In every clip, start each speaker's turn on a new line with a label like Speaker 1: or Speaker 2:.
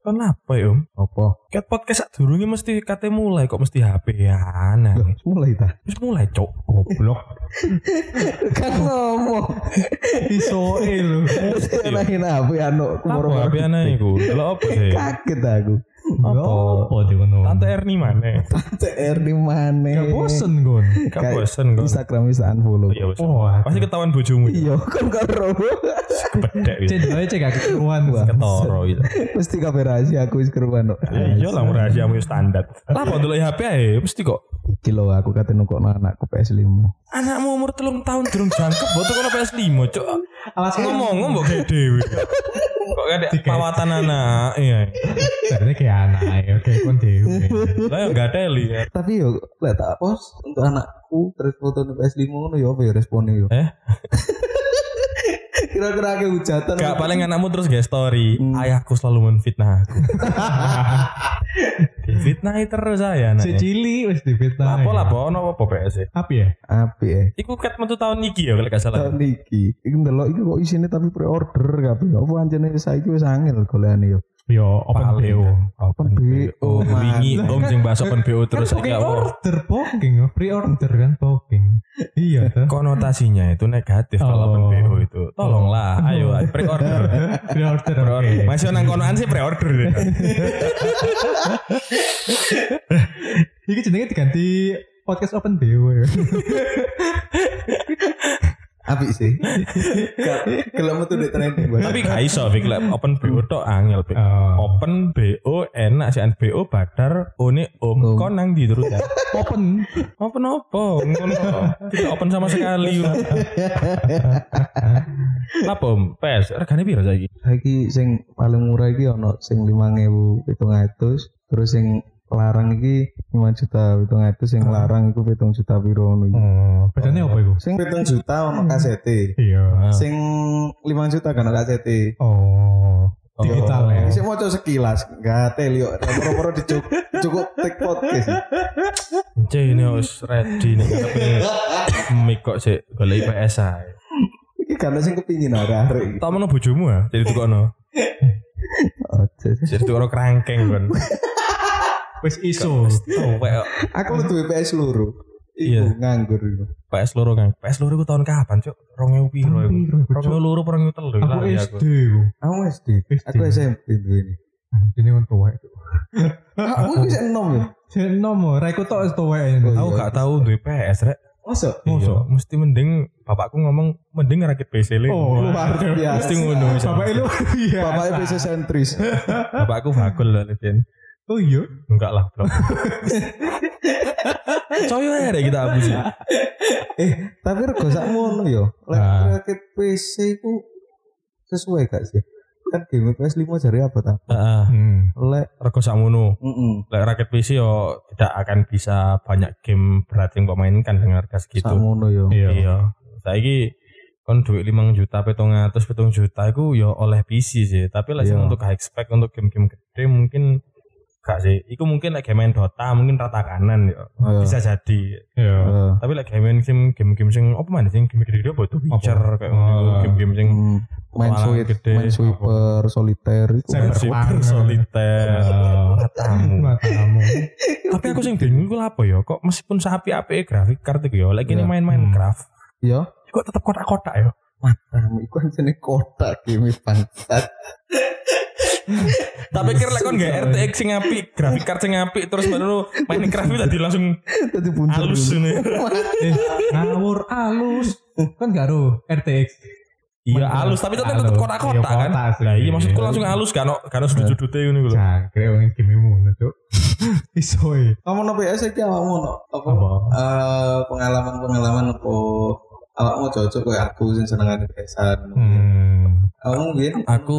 Speaker 1: Kon apa ya, Om?
Speaker 2: Apa?
Speaker 1: Kat podcast sak durunge mesti kate mulai kok mesti HP-an.
Speaker 2: Loh, mulai ta.
Speaker 1: Wis mulai, Cok. Goblok.
Speaker 2: Kan ngomong.
Speaker 1: Isoe lho.
Speaker 2: Nangin apa ya
Speaker 1: Iya.
Speaker 2: anu
Speaker 1: Apa
Speaker 2: kemoro-moro.
Speaker 1: HP-an ae iku? Delok apa sih?
Speaker 2: Kaget aku. Ya
Speaker 3: Apa?
Speaker 2: Loh,
Speaker 3: Apa di kono?
Speaker 1: Tante Erni mana?
Speaker 2: CR di mana?
Speaker 3: Gak bosen kon.
Speaker 1: Gak
Speaker 2: Kayak
Speaker 1: bosen kon.
Speaker 2: Instagram bisa unfollow.
Speaker 1: Iya, bosen.
Speaker 3: Wah.
Speaker 1: Pasti ketahuan bojomu. ya.
Speaker 2: Iya, kan karo.
Speaker 1: Kepedek
Speaker 3: Cek
Speaker 1: gitu.
Speaker 3: doi cek gak keruan.
Speaker 2: Wah.
Speaker 1: Ketoro gitu.
Speaker 2: Mesti kabeh rahasia aku wis keruan. kok.
Speaker 1: Iya lah rahasiamu yo standar. Lah kok delok HP ae mesti kok
Speaker 2: Iki lho aku kate nukokno anakku PS5.
Speaker 1: anakmu umur telung tahun durung jangkep botok kono PS5 cok alas ngomong ngomong kayak dewi kok kayak pawatan anak iya
Speaker 3: Jadi kayak anak ya, kayak kon dewe.
Speaker 1: lah ya gak ada lihat
Speaker 2: Tapi yo lek tak post untuk anakku terus foto nih PS5 ngono yo apa yo responnya yo.
Speaker 1: eh
Speaker 2: Kira-kira aku hujatan.
Speaker 1: gak paling anakmu terus gak story
Speaker 3: Hmm.
Speaker 1: ayahku selalu menfitnah aku fitnahi terus ah, saya
Speaker 3: Si
Speaker 1: anak
Speaker 3: Cili wis difitnah.
Speaker 1: lapo
Speaker 3: ya.
Speaker 1: lapo ono apa PS
Speaker 3: Apa ya?
Speaker 2: api eh.
Speaker 1: Iku kat metu tahun iki ya kalau gak salah
Speaker 2: Tahun iki, iku ndelok iki kok isine tapi pre-order kabeh. Apa anjene saiki wis angel golekane yo.
Speaker 3: Yo open
Speaker 1: Paling.
Speaker 3: BO.
Speaker 2: Open BO.
Speaker 1: Oh, wingi
Speaker 2: mantap.
Speaker 1: om sing bahas open BO terus
Speaker 3: Kan
Speaker 1: iki
Speaker 3: booking
Speaker 1: apa?
Speaker 3: order booking, oh, pre-order kan booking. Iya tuh.
Speaker 1: Konotasinya itu negatif kalau
Speaker 3: Oh.
Speaker 1: open BO itu. Tolonglah, ayo pre-order.
Speaker 3: Pre-order,
Speaker 1: pre-order.
Speaker 3: oke.
Speaker 1: Masih nang konoan sih pre-order.
Speaker 3: Iki jenenge diganti podcast open BO ya.
Speaker 2: Api sih. Gak- Gelem metu di trending banget.
Speaker 1: Tapi gak iso Fik. Lek open BO tok angel Fik.
Speaker 3: Oh.
Speaker 1: Open BO enak sih BO kan. badar one om
Speaker 2: Om.
Speaker 1: kon nang di terus ya.
Speaker 3: Open.
Speaker 1: Open opo? Ngono kok. Tidak open sama sekali. Napa om? PS regane piro saiki?
Speaker 2: saiki sing paling murah iki ono sing 5700 terus sing larang iki 5 juta 700 sing larang iku 7 juta piro ngono iki. Hmm.
Speaker 3: Oh, bedanya apa itu?
Speaker 2: Sing 7 juta ono kasete.
Speaker 3: Iya.
Speaker 2: Sing 5 juta kan ono kasete.
Speaker 3: Oh. Digital ya.
Speaker 2: Sik moco sekilas, gak tel yo. Poro-poro dicukup cukup take podcast.
Speaker 1: Cih, ini harus ready nih ngarepe mic kok sik golek PS ae.
Speaker 2: Iki kan sing kepingin arek-arek. iki.
Speaker 1: Tak menoh bojomu ya, jadi tukokno.
Speaker 2: Ojo sih.
Speaker 1: Jadi tukokno kerangkeng kon.
Speaker 3: Wis iso.
Speaker 1: Tuwek kok.
Speaker 2: Aku lu duwe PS loro.
Speaker 1: Iya.
Speaker 2: Iku nganggur iku.
Speaker 1: PS loro kan. PS loro ku tahun kapan, Cuk? 2000 piro iku? 2000 loro 2003
Speaker 3: Aku
Speaker 1: lali ya, aku.
Speaker 3: SD. ku.
Speaker 2: Aku SD,
Speaker 3: SD.
Speaker 2: aku SMP duwe.
Speaker 3: Ini kan tua itu.
Speaker 2: Aku wis enom ya.
Speaker 3: Jadi nomor, aku tau itu tua ini.
Speaker 2: Oh, iya.
Speaker 1: Aku gak tau duwe PS rek.
Speaker 2: Masa?
Speaker 1: Iya,
Speaker 3: Mosok?
Speaker 1: mesti mending bapakku ngomong mending rakit PC le.
Speaker 3: Oh,
Speaker 2: Luar biasa.
Speaker 1: mesti ngono.
Speaker 3: Bapak
Speaker 1: Bapak
Speaker 3: lu iya.
Speaker 2: Bapaknya PC sentris.
Speaker 1: bapakku bakul lho Levin.
Speaker 3: Oh iya.
Speaker 1: Enggak lah, blok. Coyo ae rek kita abusi.
Speaker 2: eh, tapi rego sak ngono yo. Lek
Speaker 3: Nah.
Speaker 2: rakit PC ku sesuai gak sih? Kan game PS5 jari apa ta?
Speaker 1: Heeh.
Speaker 3: Hmm.
Speaker 2: Lek
Speaker 1: Rego sakmono.
Speaker 2: heeh.
Speaker 1: Lek rakit PC yo tidak akan bisa banyak game berat yang mbok mainkan dengan harga
Speaker 2: Sak
Speaker 1: segitu.
Speaker 2: ngono ya. yo.
Speaker 3: Iya.
Speaker 1: Iya. Saiki kon duit 5 juta, 700, 7 juta iku ya oleh PC sih. Tapi lah sing
Speaker 2: Iya.
Speaker 1: untuk high spec untuk game-game gede mungkin gak sih. Iku mungkin lek game main Dota mungkin rata kanan ya.
Speaker 2: Iya.
Speaker 1: Bisa jadi.
Speaker 3: Iya.
Speaker 2: Heeh.
Speaker 1: Tapi lek game main game game-game sing apa mana sing game gede-gede apa tuh Witcher kayak ngono.
Speaker 3: Oh.
Speaker 1: game-game sing
Speaker 2: Hmm, Main
Speaker 1: petualangan
Speaker 2: sweet,
Speaker 1: gede.
Speaker 2: main sweeper, solitaire itu.
Speaker 1: Super
Speaker 3: Cyber- Cyberpunk. Iya.
Speaker 1: solitaire. Matamu.
Speaker 3: Matamu.
Speaker 1: Tapi aku sing bingung iku lha apa ya? Kok meskipun sapi api grafik kartu iku ya, lek ini
Speaker 2: Iya.
Speaker 1: main
Speaker 3: Hmm.
Speaker 1: Minecraft,
Speaker 2: Yo,
Speaker 1: kok tetep kotak-kotak ya?
Speaker 2: kamu Ah, iku kan jenenge kotak game bangsat.
Speaker 1: Tak pikir lek kon gak RTX sing apik, grafik card sing apik terus baru Minecraft itu tadi langsung
Speaker 2: Dadi bunder.
Speaker 1: halus
Speaker 2: ngono.
Speaker 1: ini.
Speaker 3: Eh, ngawur alus. Kan gak ro RTX.
Speaker 1: Iya halus tapi tetep tetep
Speaker 3: Halus.
Speaker 1: kotak-kotak
Speaker 3: Iya,
Speaker 1: kan.
Speaker 3: kotak sih.
Speaker 1: Nah, iya maksudku langsung halus kan karena sudut sudutnya ini lho.
Speaker 3: Cangkrik wong game ngono, Cuk. Iso e.
Speaker 2: Kamu no PS iki awakmu no apa?
Speaker 3: Apa?
Speaker 2: Eh, pengalaman-pengalaman apa awakmu cocok kayak aku sing senengane PS-an.
Speaker 3: Hmm.
Speaker 2: Kamu mungkin
Speaker 1: Aku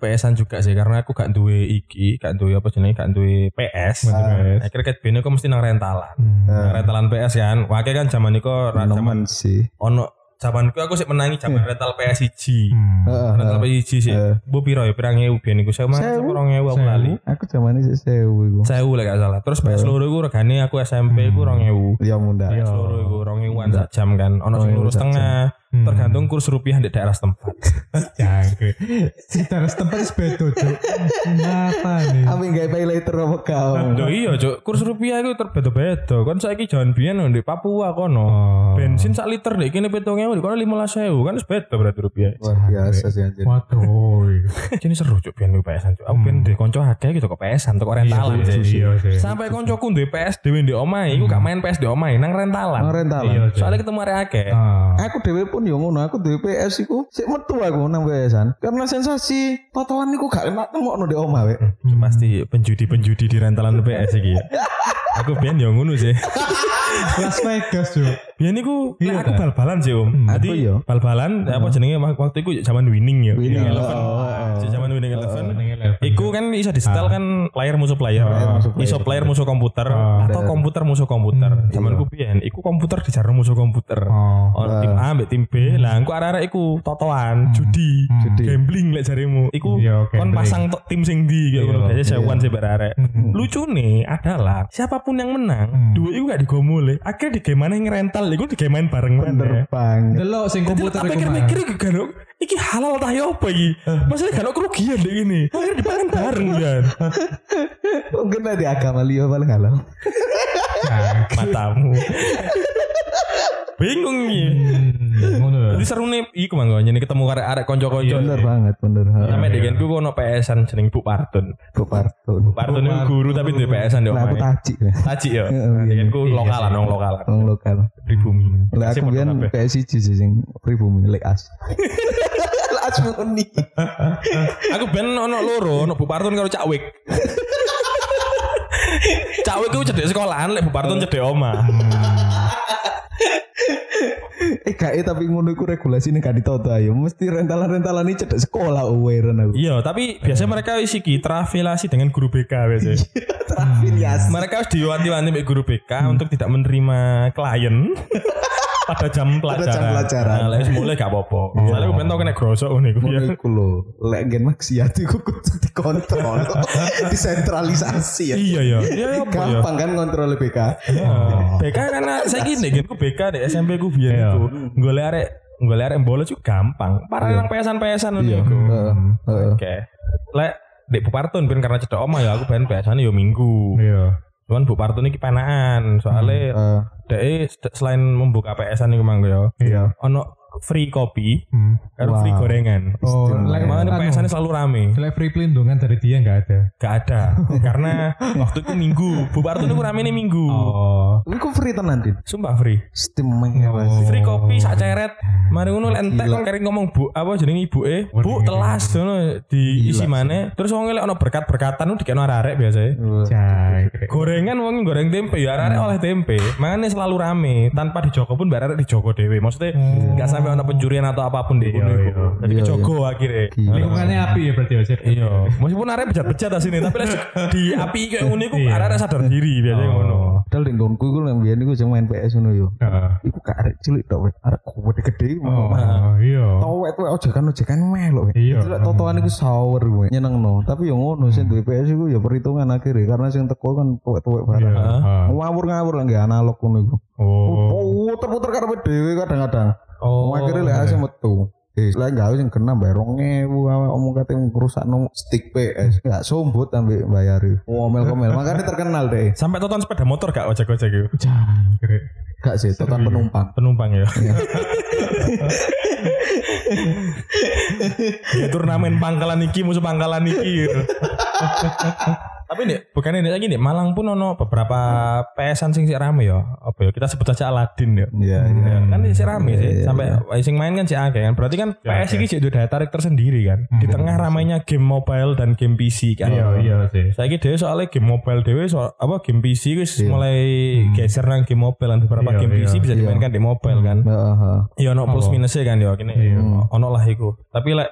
Speaker 1: PS-an juga sih karena aku gak duwe iki, gak duwe apa jenenge, gak duwe PS. Nah,
Speaker 3: Bener.
Speaker 1: Akhirnya kayak bini aku mesti nang rentalan.
Speaker 3: Hmm.
Speaker 2: Eh,
Speaker 1: Rentalan PS kan. Wakil kan zaman itu ra- zaman
Speaker 2: Nemen sih.
Speaker 1: ono zamanku aku sih menangi zaman rental PS1.
Speaker 3: Hmm.
Speaker 2: Heeh,
Speaker 1: Rental
Speaker 2: heeh.
Speaker 1: PS1 sih.
Speaker 3: Iya.
Speaker 2: Eh.
Speaker 1: Bu piro ya pirang ewu biyen iku sama
Speaker 2: Sewu.
Speaker 1: 2000 aku lali.
Speaker 2: Aku zaman ini sewu iku.
Speaker 1: Saya lah gak salah. Terus PS loro iku regane aku SMP iku 2000.
Speaker 2: Ya munda.
Speaker 3: Iya.
Speaker 1: Loro iku 2000-an sak jam kan. Ono sing
Speaker 2: 2000
Speaker 1: lurus
Speaker 2: sak jam.
Speaker 1: tengah,
Speaker 3: Hmm.
Speaker 1: tergantung kurs rupiah di daerah setempat.
Speaker 3: Jangkrik. Secara setempat sebeto, Cuk. Kenapa nih?
Speaker 2: Ambil gak pay later apa kau?
Speaker 3: Oh.
Speaker 1: Loh iya, Cuk. Kurs rupiah itu terbeda-beda. Kan saiki jalan biyen di Papua kono.
Speaker 3: Oh.
Speaker 1: Bensin sak liter dek kene 7000, di kono 15000. Kan beda berarti rupiah.
Speaker 2: Luar biasa sih anjir.
Speaker 3: Waduh.
Speaker 1: Jadi seru cuk biyen kuwi PS-an cuk. Aku
Speaker 3: Hmm.
Speaker 1: biyen di konco akeh gitu kok PS-an toko rentalan.
Speaker 3: Iya,
Speaker 1: sih.
Speaker 3: iya, iya. Hmm.
Speaker 1: Sampai koncoku duwe PS dhewe ndek omahe, iku gak main PS ndek omahe nang rentalan.
Speaker 2: Nang rentalan.
Speaker 3: Iya, Cuk.
Speaker 1: Soalnya ketemu arek akeh.
Speaker 3: Ah.
Speaker 2: Aku dewe pun yo ngono, aku dewe PS iku sik metu aku nang PS-an. Karena sensasi potongan niku gak enak nemokno di omah wek.
Speaker 1: Cuk, Pasti penjudi-penjudi di rentalan PS iki. ya. Aku biyen yo ngono sih.
Speaker 3: Las Vegas, Cuk.
Speaker 1: Biyen iku nek
Speaker 3: Iya,
Speaker 1: aku
Speaker 3: ta?
Speaker 1: bal-balan sih, Om.
Speaker 2: Hmm, Aku
Speaker 1: Jadi
Speaker 2: yo.
Speaker 1: bal-balan apa jenenge wak- waktu iku zaman winning yo.
Speaker 2: Winning, oh, oh, oh. Ah.
Speaker 1: Si zaman winning eleven.
Speaker 3: Iku
Speaker 1: Iku kan iso di setel kan player musuh player.
Speaker 2: musuh player.
Speaker 1: Iso player musuh komputer
Speaker 3: Ah.
Speaker 1: atau komputer musuh komputer.
Speaker 2: Hmm, iya.
Speaker 1: Zaman ku biyen iku komputer dijarno musuh komputer.
Speaker 2: Ah.
Speaker 3: Oh.
Speaker 1: Oh, tim A ambek tim B. Lah engko arek-arek iku totoan, judi,
Speaker 2: Hmm. Judi.
Speaker 1: gambling lek jarimu. Iku
Speaker 3: Iya,
Speaker 1: kon
Speaker 3: gambling.
Speaker 1: pasang to- tim sing ndi kayak
Speaker 3: Iya,
Speaker 1: ngono. Biasanya
Speaker 2: iya.
Speaker 1: jauhan sih barek arek.
Speaker 3: Hmm.
Speaker 1: Lucu nih adalah siapapun yang menang,
Speaker 3: Hmm.
Speaker 1: duit iku gak digomole. Akhirnya di game mana yang ngerental, iku di game main bareng
Speaker 2: Bener
Speaker 1: meneh.
Speaker 2: banget.
Speaker 3: delok sing
Speaker 1: Jadi
Speaker 3: komputer
Speaker 1: tak
Speaker 3: iku
Speaker 1: pikir-pikir
Speaker 3: Mas.
Speaker 1: iki gak ono- iki halal ta ya apa iki?
Speaker 2: Eh.
Speaker 1: Maksudnya gak ono kerugian deh ini. Akhirnya dipangan bareng kan.
Speaker 2: Mungkin ada agama liya paling halal.
Speaker 1: Nah, Matamu. Bingung ya.
Speaker 3: Hmm, Ngono. ya.
Speaker 1: Jadi seru nih, iku mangga ini ketemu karek arek konco-konco.
Speaker 2: Iya, Bener Iya. banget, bener.
Speaker 1: Sampai dengan ku ono PSan jeneng Bu Partun.
Speaker 2: Kok partun.
Speaker 1: Bu Partun itu guru tapi di PSan yo.
Speaker 2: Lah aku tajik. ya.
Speaker 1: Taji yo.
Speaker 2: Heeh, iya.
Speaker 1: Dengan ku lokalan nong lokalan
Speaker 2: Wong lokal.
Speaker 1: pribumi.
Speaker 2: Lah aku
Speaker 1: Sip,
Speaker 2: kan
Speaker 1: ono kabeh.
Speaker 2: PS1 sih sing pribumi lek as. Lek as muni.
Speaker 1: Aku ben ono loro, ono Bu Partun karo Cak Wik. Cak Wik ku cedek sekolahan, lek Bu Partun cedek oma.
Speaker 2: Eh gak eh, tapi ngono iku regulasine gak ditoto ayo. Mesti rentalan-rentalan ini cedak sekolah aware aku.
Speaker 1: Iya, tapi biasanya mereka wis iki terafiliasi dengan guru BK biasanya.
Speaker 3: Hmm.
Speaker 2: Terafiliasi.
Speaker 1: Mereka harus diwanti-wanti oleh guru BK untuk tidak menerima klien pada jam pelajaran.
Speaker 2: jam pelajaran.
Speaker 1: Nah, lek mulai gak apa-apa. Soalnya aku bentong kena grosok ngene iku ya.
Speaker 2: Ngono
Speaker 3: Iya.
Speaker 2: iku lho. Lek gen maksiat iku kudu dikontrol. Disentralisasi ya.
Speaker 1: Iya ya. Iya apa ya?
Speaker 2: Gampang kan kontrol BK.
Speaker 3: Iya.
Speaker 1: Oh. BK karena saya gini kan ku BK deh SMP ku biyen iku. Golek arek golek arek bolos juga gampang. Parah nang pesan-pesan
Speaker 3: Iya.
Speaker 1: ngono iku.
Speaker 2: Iya. Heeh, heeh.
Speaker 1: Oke. Lek Dek Bu Partun ben karena cedok oma ya aku ben biasanya yo minggu.
Speaker 3: Iya.
Speaker 1: Cuman Bu Partun iki panaan soalnya
Speaker 2: Eh,
Speaker 1: dek selain membuka PSan iku mangko ya.
Speaker 3: Iya.
Speaker 1: Ono free kopi
Speaker 3: Hmm.
Speaker 1: karo free gorengan.
Speaker 3: Oh,
Speaker 2: Istimewa.
Speaker 3: lek
Speaker 1: Makanya
Speaker 3: anu,
Speaker 1: PSan selalu rame.
Speaker 3: lek free pelindungan dari dia nggak ada.
Speaker 1: Gak ada karena waktu itu minggu. Bu Partun itu rame nih minggu.
Speaker 3: Oh.
Speaker 2: Iku free tenan din.
Speaker 1: Sumpah free.
Speaker 2: Steam ya Mas.
Speaker 3: Oh.
Speaker 1: Free kopi sak ceret. Mari ngono lek entek
Speaker 2: Gila.
Speaker 1: kok kering ngomong Bu apa jenenge ibuke? Bu telas ngono diisi maneh. Terus wong lek ono berkat-berkatan ku dikene arek biasanya.
Speaker 3: Jangkrik.
Speaker 1: Gorengan wong goreng tempe ya arek
Speaker 3: Hmm.
Speaker 1: oleh tempe. Makanya selalu rame tanpa dijogo pun barek dijogo dhewe. Maksudnya
Speaker 3: Hmm.
Speaker 1: enggak sampai ono pencurian atau apapun di
Speaker 3: Iya,
Speaker 1: kono iku. Jadi dijogo akhirnya.
Speaker 3: Lingkungannya api ya berarti ya. Sir?
Speaker 1: Iya, meskipun arek bejat-bejat asine, tapi lek di api kayak ngono iku
Speaker 3: Iya.
Speaker 1: arek sadar diri biasanya ngono.
Speaker 3: Oh.
Speaker 1: Nah.
Speaker 2: Padahal di nggonku iku nang biyen iku sing main PS ngono yo.
Speaker 3: Heeh.
Speaker 2: Iku gak arek cilik tok wek, arek gede-gede.
Speaker 3: Oh,
Speaker 2: ngono.
Speaker 3: iya.
Speaker 1: Nah.
Speaker 2: Tau wek kowe ojekan ojekan melok wek.
Speaker 3: Iya.
Speaker 2: Itu lek totoan iku sawer wek. Nyenengno, tapi yo ngono sing duwe PS iku yo perhitungan akhirnya karena sing teko kan tuwek-tuwek
Speaker 1: Nah.
Speaker 2: barang.
Speaker 1: Iya.
Speaker 3: Heeh.
Speaker 2: Ngawur-ngawur lah nggak analog ngono iku.
Speaker 3: Iya. Ah. Oh.
Speaker 2: Oh, puter-puter karepe dhewe kadang-kadang.
Speaker 1: Oh,
Speaker 2: Akhirnya lek asem metu. Eh, lek gawe sing kena bayar 2000 awak omong kate ngrusakno stick PS. Enggak sombot ambek bayari. Ngomel-ngomel, makanya terkenal deh.
Speaker 1: sampai tonton sepeda motor gak ojek-ojek iku.
Speaker 3: Jangkrik.
Speaker 2: Gak sih, tokan penumpang.
Speaker 1: penumpang ya.
Speaker 3: Iya.
Speaker 1: ya turnamen pangkalan iki musuh pangkalan iki. gitu. Tapi nih, bukan ini lagi nih, Malang pun ono beberapa pesan sing sik rame ya. Apa ya? Kita sebut aja Aladin ya.
Speaker 2: Iya,
Speaker 3: Hmm.
Speaker 2: iya.
Speaker 1: Ya, kan sih rame sih
Speaker 3: iya,
Speaker 1: sampai sing main kan sih akeh kan berarti kan PS iki sih udah daya tarik tersendiri kan di tengah ramainya game mobile dan game PC kan
Speaker 3: Hmm. Iya, iya sih.
Speaker 1: Saiki dhewe soalnya game mobile dhewe soal apa game PC wis mulai geser nang game mobile dan beberapa
Speaker 3: Hmm. Iya,
Speaker 1: game
Speaker 3: iya. Hmm.
Speaker 1: PC bisa dimainkan di mobile kan.
Speaker 2: Heeh, heeh. Hmm.
Speaker 1: Ya ono plus minusnya kan ya kene.
Speaker 3: Iya.
Speaker 1: Ono lah iku. Tapi lek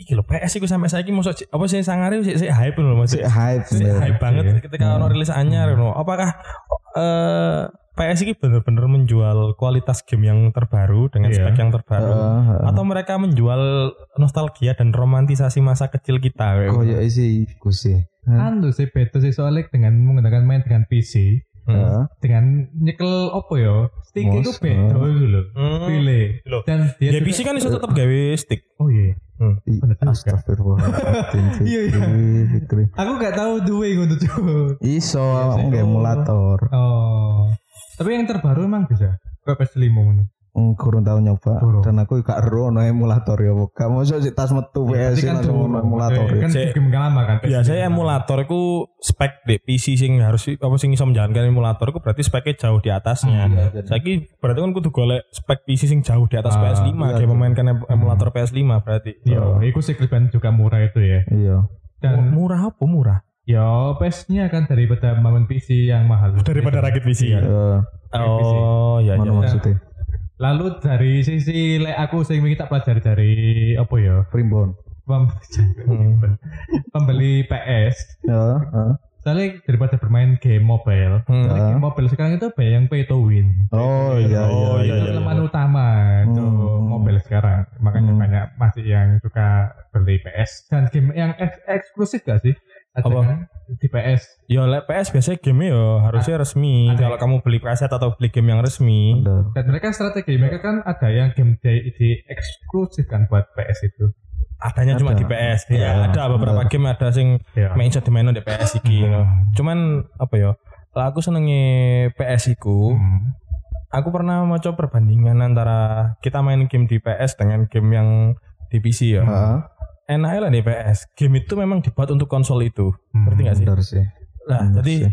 Speaker 1: iki lho PS iku sampai saiki mosok si- apa sih sangare sik sik hype lho Mas. Sik
Speaker 3: Iya.
Speaker 2: Hype.
Speaker 1: sik
Speaker 2: bener.
Speaker 1: hype banget ketika ono rilis anyar lho. Apakah eh PS ini bener-bener menjual kualitas game yang terbaru dengan
Speaker 3: Iya.
Speaker 1: spek yang terbaru
Speaker 2: Heeh, heeh.
Speaker 1: atau mereka menjual nostalgia dan romantisasi masa kecil
Speaker 3: Oh,
Speaker 1: kita kayak
Speaker 3: iya.
Speaker 2: Koyo isi iku sih.
Speaker 3: Anu sih beda sih soalnya dengan menggunakan main dengan PC
Speaker 1: Hmm.
Speaker 2: Heeh.
Speaker 3: dengan nyekel opo ya stick
Speaker 2: Mos,
Speaker 3: itu beda
Speaker 2: eh.
Speaker 3: itu loh
Speaker 1: Hmm.
Speaker 3: pilih
Speaker 1: Loh,
Speaker 3: dan Iya, dia
Speaker 1: Ya
Speaker 3: juga-
Speaker 1: PC kan bisa tetap gawe stick.
Speaker 3: oh iya
Speaker 1: Hmm.
Speaker 2: I-
Speaker 3: Bener juga.
Speaker 2: Astagfirullahaladzim
Speaker 3: Iya, iya.
Speaker 2: Fikri, Fikri.
Speaker 3: aku gak tahu duwe ngono tuh
Speaker 2: Iso
Speaker 3: sih.
Speaker 2: awakmu nggak emulator.
Speaker 3: oh tapi yang terbaru emang bisa PS5 ngono
Speaker 2: Mm, kurang tahu nyoba
Speaker 3: Kurang.
Speaker 2: dan aku gak ero ono emulator ya buka mosok sik tas metu PS
Speaker 3: Iya, tapi kan
Speaker 2: langsung
Speaker 3: dulu.
Speaker 2: ono emulator ya.
Speaker 3: Eh, kan
Speaker 1: Iya, Saya-
Speaker 3: game gak lama kan
Speaker 1: Biasanya emulator ku spek di PC sing harus apa sing iso menjalankan emulator ku berarti speknya jauh di atasnya.
Speaker 3: Iya,
Speaker 2: jadi.
Speaker 1: Saiki berarti kan kudu golek spek PC sing jauh di atas
Speaker 3: Ah,
Speaker 1: PS5
Speaker 2: iya,
Speaker 1: dia
Speaker 2: iya.
Speaker 1: memainkan em- emulator PS5 berarti.
Speaker 3: Iya, itu sih keliban juga murah itu ya.
Speaker 2: iya
Speaker 1: Mu-
Speaker 3: Dan
Speaker 1: murah apa murah?
Speaker 3: ya PS-nya kan daripada bangun PC yang mahal.
Speaker 1: rakit PC.
Speaker 3: Iya.
Speaker 2: Eh,
Speaker 1: Oh, iya
Speaker 2: mana
Speaker 1: iya.
Speaker 2: maksudnya
Speaker 3: Lalu dari sisi lek aku sering kita pelajari dari apa ya?
Speaker 2: primbon
Speaker 3: Pem-
Speaker 1: Hmm.
Speaker 3: Pembeli PS.
Speaker 2: ya eh.
Speaker 3: Soalnya daripada bermain game mobile,
Speaker 1: Hmm.
Speaker 2: Ah.
Speaker 3: game mobile sekarang itu banyak yang pay to win.
Speaker 2: oh iya
Speaker 1: Oh, iya,
Speaker 2: iya
Speaker 3: Itu
Speaker 1: iya.
Speaker 3: kelemahan utama tuh
Speaker 2: Hmm.
Speaker 3: mobile sekarang. Makanya
Speaker 2: Hmm.
Speaker 3: banyak masih yang suka beli PS dan game yang ek- eksklusif gak sih? Ada
Speaker 1: Apa?
Speaker 3: kan di PS
Speaker 1: Ya lek PS biasanya game yo harusnya resmi.
Speaker 3: ada.
Speaker 1: Kalau kamu beli preset atau beli game yang resmi.
Speaker 2: Bener.
Speaker 3: Dan mereka strategi, mereka kan ada yang game day di eksklusif kan buat PS itu.
Speaker 1: Adanya cuma
Speaker 2: Ada.
Speaker 1: di PS.
Speaker 3: Iya,
Speaker 1: Ya, ada beberapa game ada sing
Speaker 3: Ya.
Speaker 1: main iso dimaino di PS iki.
Speaker 2: Mm-hmm.
Speaker 1: Cuman apa ya? Lah aku senengi PS iku.
Speaker 3: Hmm.
Speaker 1: Aku pernah mau perbandingan antara kita main game di PS dengan game yang di PC ya.
Speaker 2: Heeh,
Speaker 1: Enaknya lah di PS. Game itu memang dibuat untuk konsol itu.
Speaker 3: Hmm.
Speaker 1: Ngerti nggak sih?
Speaker 2: bener sih
Speaker 1: Lah,
Speaker 2: Bener
Speaker 1: jadi
Speaker 2: Iya sih.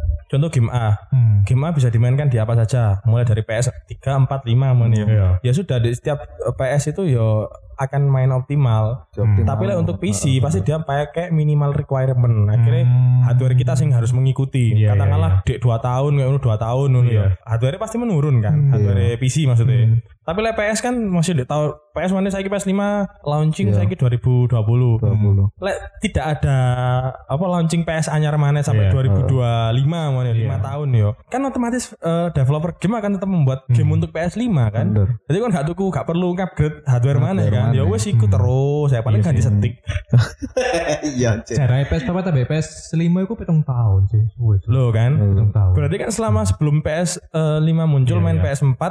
Speaker 1: contoh game A.
Speaker 3: Hmm.
Speaker 1: Game A bisa dimainkan di apa saja, mulai dari PS 3, 4, 5 men ya.
Speaker 3: Iya.
Speaker 1: Ya sudah di setiap eh, PS itu ya akan main optimal.
Speaker 2: Optimal.
Speaker 1: Tapi lah untuk PC
Speaker 2: Eh,
Speaker 1: pasti dia pakai minimal requirement. Akhirnya
Speaker 3: Hmm.
Speaker 1: hardware kita sing harus mengikuti.
Speaker 3: Iya,
Speaker 1: Katakanlah dek 2 tahun, kayak ngono 2 tahun ngono
Speaker 3: Iya.
Speaker 1: ya. Hardware pasti menurun kan.
Speaker 3: Hmm.
Speaker 1: Hardware PC maksudnya.
Speaker 3: Hmm.
Speaker 1: Tapi lah PS kan masih dek tahu PS mana saiki PS5 launching
Speaker 2: Iya.
Speaker 1: saiki 2020.
Speaker 2: 20
Speaker 1: Lek tidak ada apa launching PS anyar mana sampai
Speaker 3: Iya.
Speaker 1: 2025 mana 5
Speaker 3: Iya.
Speaker 1: tahun yo. Kan otomatis eh, developer game akan tetap membuat game
Speaker 3: Hmm.
Speaker 1: untuk PS5 kan.
Speaker 2: bener
Speaker 1: Jadi kan gak tuku, gak perlu upgrade hardware mana
Speaker 2: Hardware
Speaker 1: kan.
Speaker 2: mana.
Speaker 1: Ya wes iku
Speaker 3: Hmm.
Speaker 1: terus, saya paling
Speaker 3: Iya
Speaker 1: ganti
Speaker 3: sih.
Speaker 1: stick.
Speaker 2: iya Cek.
Speaker 3: Jaraknya PS pertama tapi PS 5 itu pitung tahun sih. Wih,
Speaker 1: Loh kan.
Speaker 3: pitung tahun.
Speaker 1: Berarti kan selama sebelum PS5 muncul
Speaker 3: Iya,
Speaker 1: main
Speaker 3: iya.
Speaker 1: PS4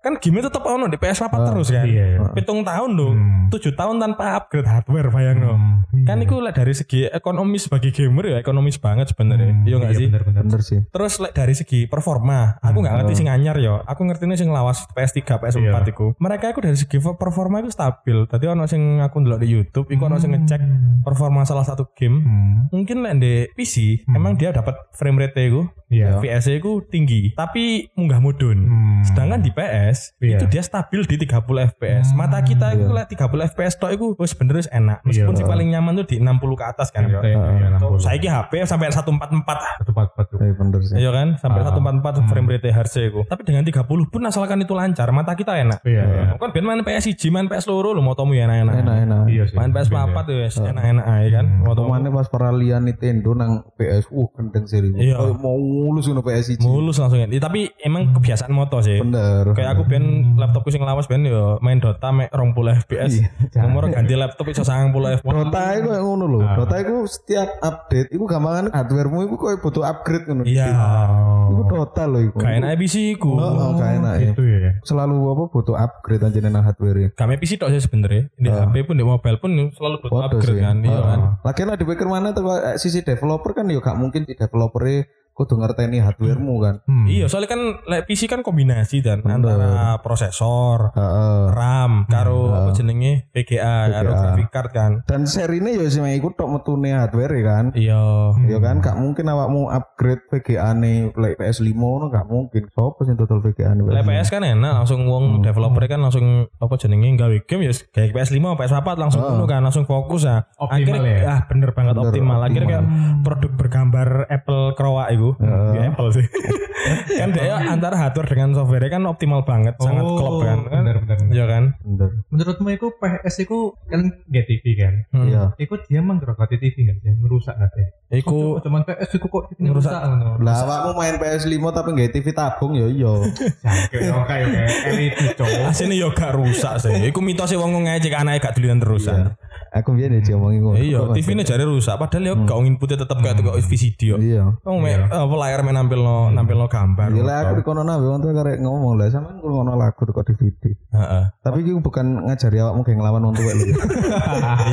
Speaker 1: kan game tetap ono di PS4
Speaker 2: Ah,
Speaker 1: terus kan.
Speaker 3: iya.
Speaker 1: Pitung tahun loh.
Speaker 3: Hmm.
Speaker 1: 7 tahun tanpa upgrade hardware bayang loh.
Speaker 3: Hmm.
Speaker 1: Kan itu lah dari segi ekonomis bagi gamer ya ekonomis banget sebenarnya.
Speaker 3: Hmm.
Speaker 1: Iya nggak sih?
Speaker 3: bener-bener.
Speaker 2: bener sih
Speaker 1: Terus like, dari segi performa, aku nggak ngerti sing anyar yo. Aku ngerti sing lawas PS3, PS4
Speaker 3: Hmm. Iya.
Speaker 1: iku. Mereka itu dari segi performa itu stabil. Tadi ono sing aku ndelok di YouTube, iku ono sing ngecek performa salah satu game.
Speaker 3: Hmm.
Speaker 1: Mungkin lek di PC
Speaker 3: Hmm.
Speaker 1: emang dia dapat frame rate iku,
Speaker 3: Iya.
Speaker 1: FPS iku E tinggi, tapi munggah mudun.
Speaker 3: Hmm.
Speaker 1: Sedangkan di PS
Speaker 3: Iya.
Speaker 1: itu dia stabil di 30 FPS.
Speaker 3: Hmm,
Speaker 1: Mata kita itu
Speaker 2: iya.
Speaker 1: lek 30 FPS tok iku wis bener wis enak. Meskipun
Speaker 3: Iya.
Speaker 1: sih paling nyaman tuh di 60 ke atas kan yo.
Speaker 3: Iya, iya, 60.
Speaker 1: Saiki HP sampai 144
Speaker 3: Satu empat empat tuh.
Speaker 2: Eh, bener sih
Speaker 1: Iya kan sampai
Speaker 3: Ah.
Speaker 1: 144 frame rate HRC itu. Tapi dengan 30 pun asalkan itu lancar, mata kita enak.
Speaker 3: Iya, iya.
Speaker 1: Kan ben main PS1, main PS loro lo mau tomu ya
Speaker 2: enak
Speaker 1: enak-enak.
Speaker 2: enak
Speaker 3: Iya Ah. Hmm. sih.
Speaker 1: Main PS4 tuh ya enak-enak aja kan. Mau tomu
Speaker 2: Pemainnya pas peralihan Nintendo nang PS, uh kendeng serius.
Speaker 1: Iya.
Speaker 2: Oh, mau mulus ngono PS iki.
Speaker 1: mulus langsung. Ya, tapi
Speaker 3: Hmm.
Speaker 1: emang kebiasaan moto sih.
Speaker 2: Bener.
Speaker 1: Kayak aku ben laptopku sing lawas ben yo main Dota mek 20 FPS. Nomor ganti laptop iso 90 FPS.
Speaker 2: Iya, Dota ya? itu kayak ngono loh.
Speaker 1: Nah.
Speaker 2: Dota itu setiap update, itu gampangan hardwaremu itu kayak butuh upgrade ngono.
Speaker 1: Iya.
Speaker 2: Itu Dota loh itu.
Speaker 1: Kayak enak Gitu. PC ku.
Speaker 2: Oh, oh, kayak enak ya.
Speaker 3: Itu ya.
Speaker 2: Selalu apa butuh upgrade aja nang hardware.
Speaker 1: Kami PC tok sih sebenernya Di
Speaker 2: Ah.
Speaker 1: HP pun di mobile pun selalu butuh upgrade kan.
Speaker 2: Oh,
Speaker 1: Iya kan.
Speaker 2: Lagi lah dipikir mana tuh Pak, eh, sisi developer kan ya gak mungkin si developer kudu ngerteni hardwaremu kan.
Speaker 3: Hmm.
Speaker 1: Iya, soalnya kan lek PC kan kombinasi dan
Speaker 2: Bener.
Speaker 1: antara prosesor,
Speaker 2: Heeh.
Speaker 1: RAM, karo
Speaker 2: Iya.
Speaker 1: apa jenenge VGA, karo
Speaker 2: VGA.
Speaker 1: graphic card kan.
Speaker 2: Dan serinya ya sih ikut tok metune hardware kan.
Speaker 1: Iya.
Speaker 2: Ya kan gak mungkin awakmu upgrade VGA ne like PS5 ngono gak mungkin. Sopo sing total VGA ne?
Speaker 1: Lek PS kan enak langsung
Speaker 2: Hmm.
Speaker 1: wong developer kan langsung apa jenenge gawe game ya kayak PS5, PS4 langsung ngono kan langsung fokus ya.
Speaker 3: Optimal
Speaker 1: Akhirnya,
Speaker 3: ya?
Speaker 1: Ah bener banget
Speaker 2: Ah. Bener,
Speaker 1: optimal. Akhirnya kayak produk bergambar Apple Crowa itu.
Speaker 2: Ah.
Speaker 1: Ya, Apple sih. kan dia antara hardware dengan software kan optimal banget, sangat
Speaker 3: Oh,
Speaker 1: klop kan. Kan?
Speaker 3: bener, bener, bener.
Speaker 1: Iya kan?
Speaker 2: Bener.
Speaker 3: Menurutmu itu PS itu kan nggak TV kan?
Speaker 1: Hmm.
Speaker 2: Iya.
Speaker 3: Iku dia menggerogoti TV nggak sih? Ngerusak nggak sih?
Speaker 1: Iku
Speaker 3: cuman PS iku kok ini
Speaker 1: Ngerusak.
Speaker 3: rusak ngono.
Speaker 2: Lah awakmu main PS5 tapi nggak TV tabung ya iya.
Speaker 3: Oke, oke, oke. LED cowok.
Speaker 1: ya Asine yo gak rusak sih. Iku mitose wong ngecek anake gak dulinan terusan.
Speaker 2: aku ya biar dia ngomongin kok.
Speaker 1: Iya, TV-ne jare rusak padahal ya gak inputnya tetep gak teko VCD yo.
Speaker 2: Hmm. Iya.
Speaker 1: ya. Wong mek apa layar mek nampilno nampilno gambar.
Speaker 2: Iya lah aku dikono nabe wong tuh karek ngomong lah sama aku ngono lagu kok DVD.
Speaker 1: Heeh.
Speaker 2: Tapi iki bukan ngajari awakmu kayak ngelawan wong tuwek lho.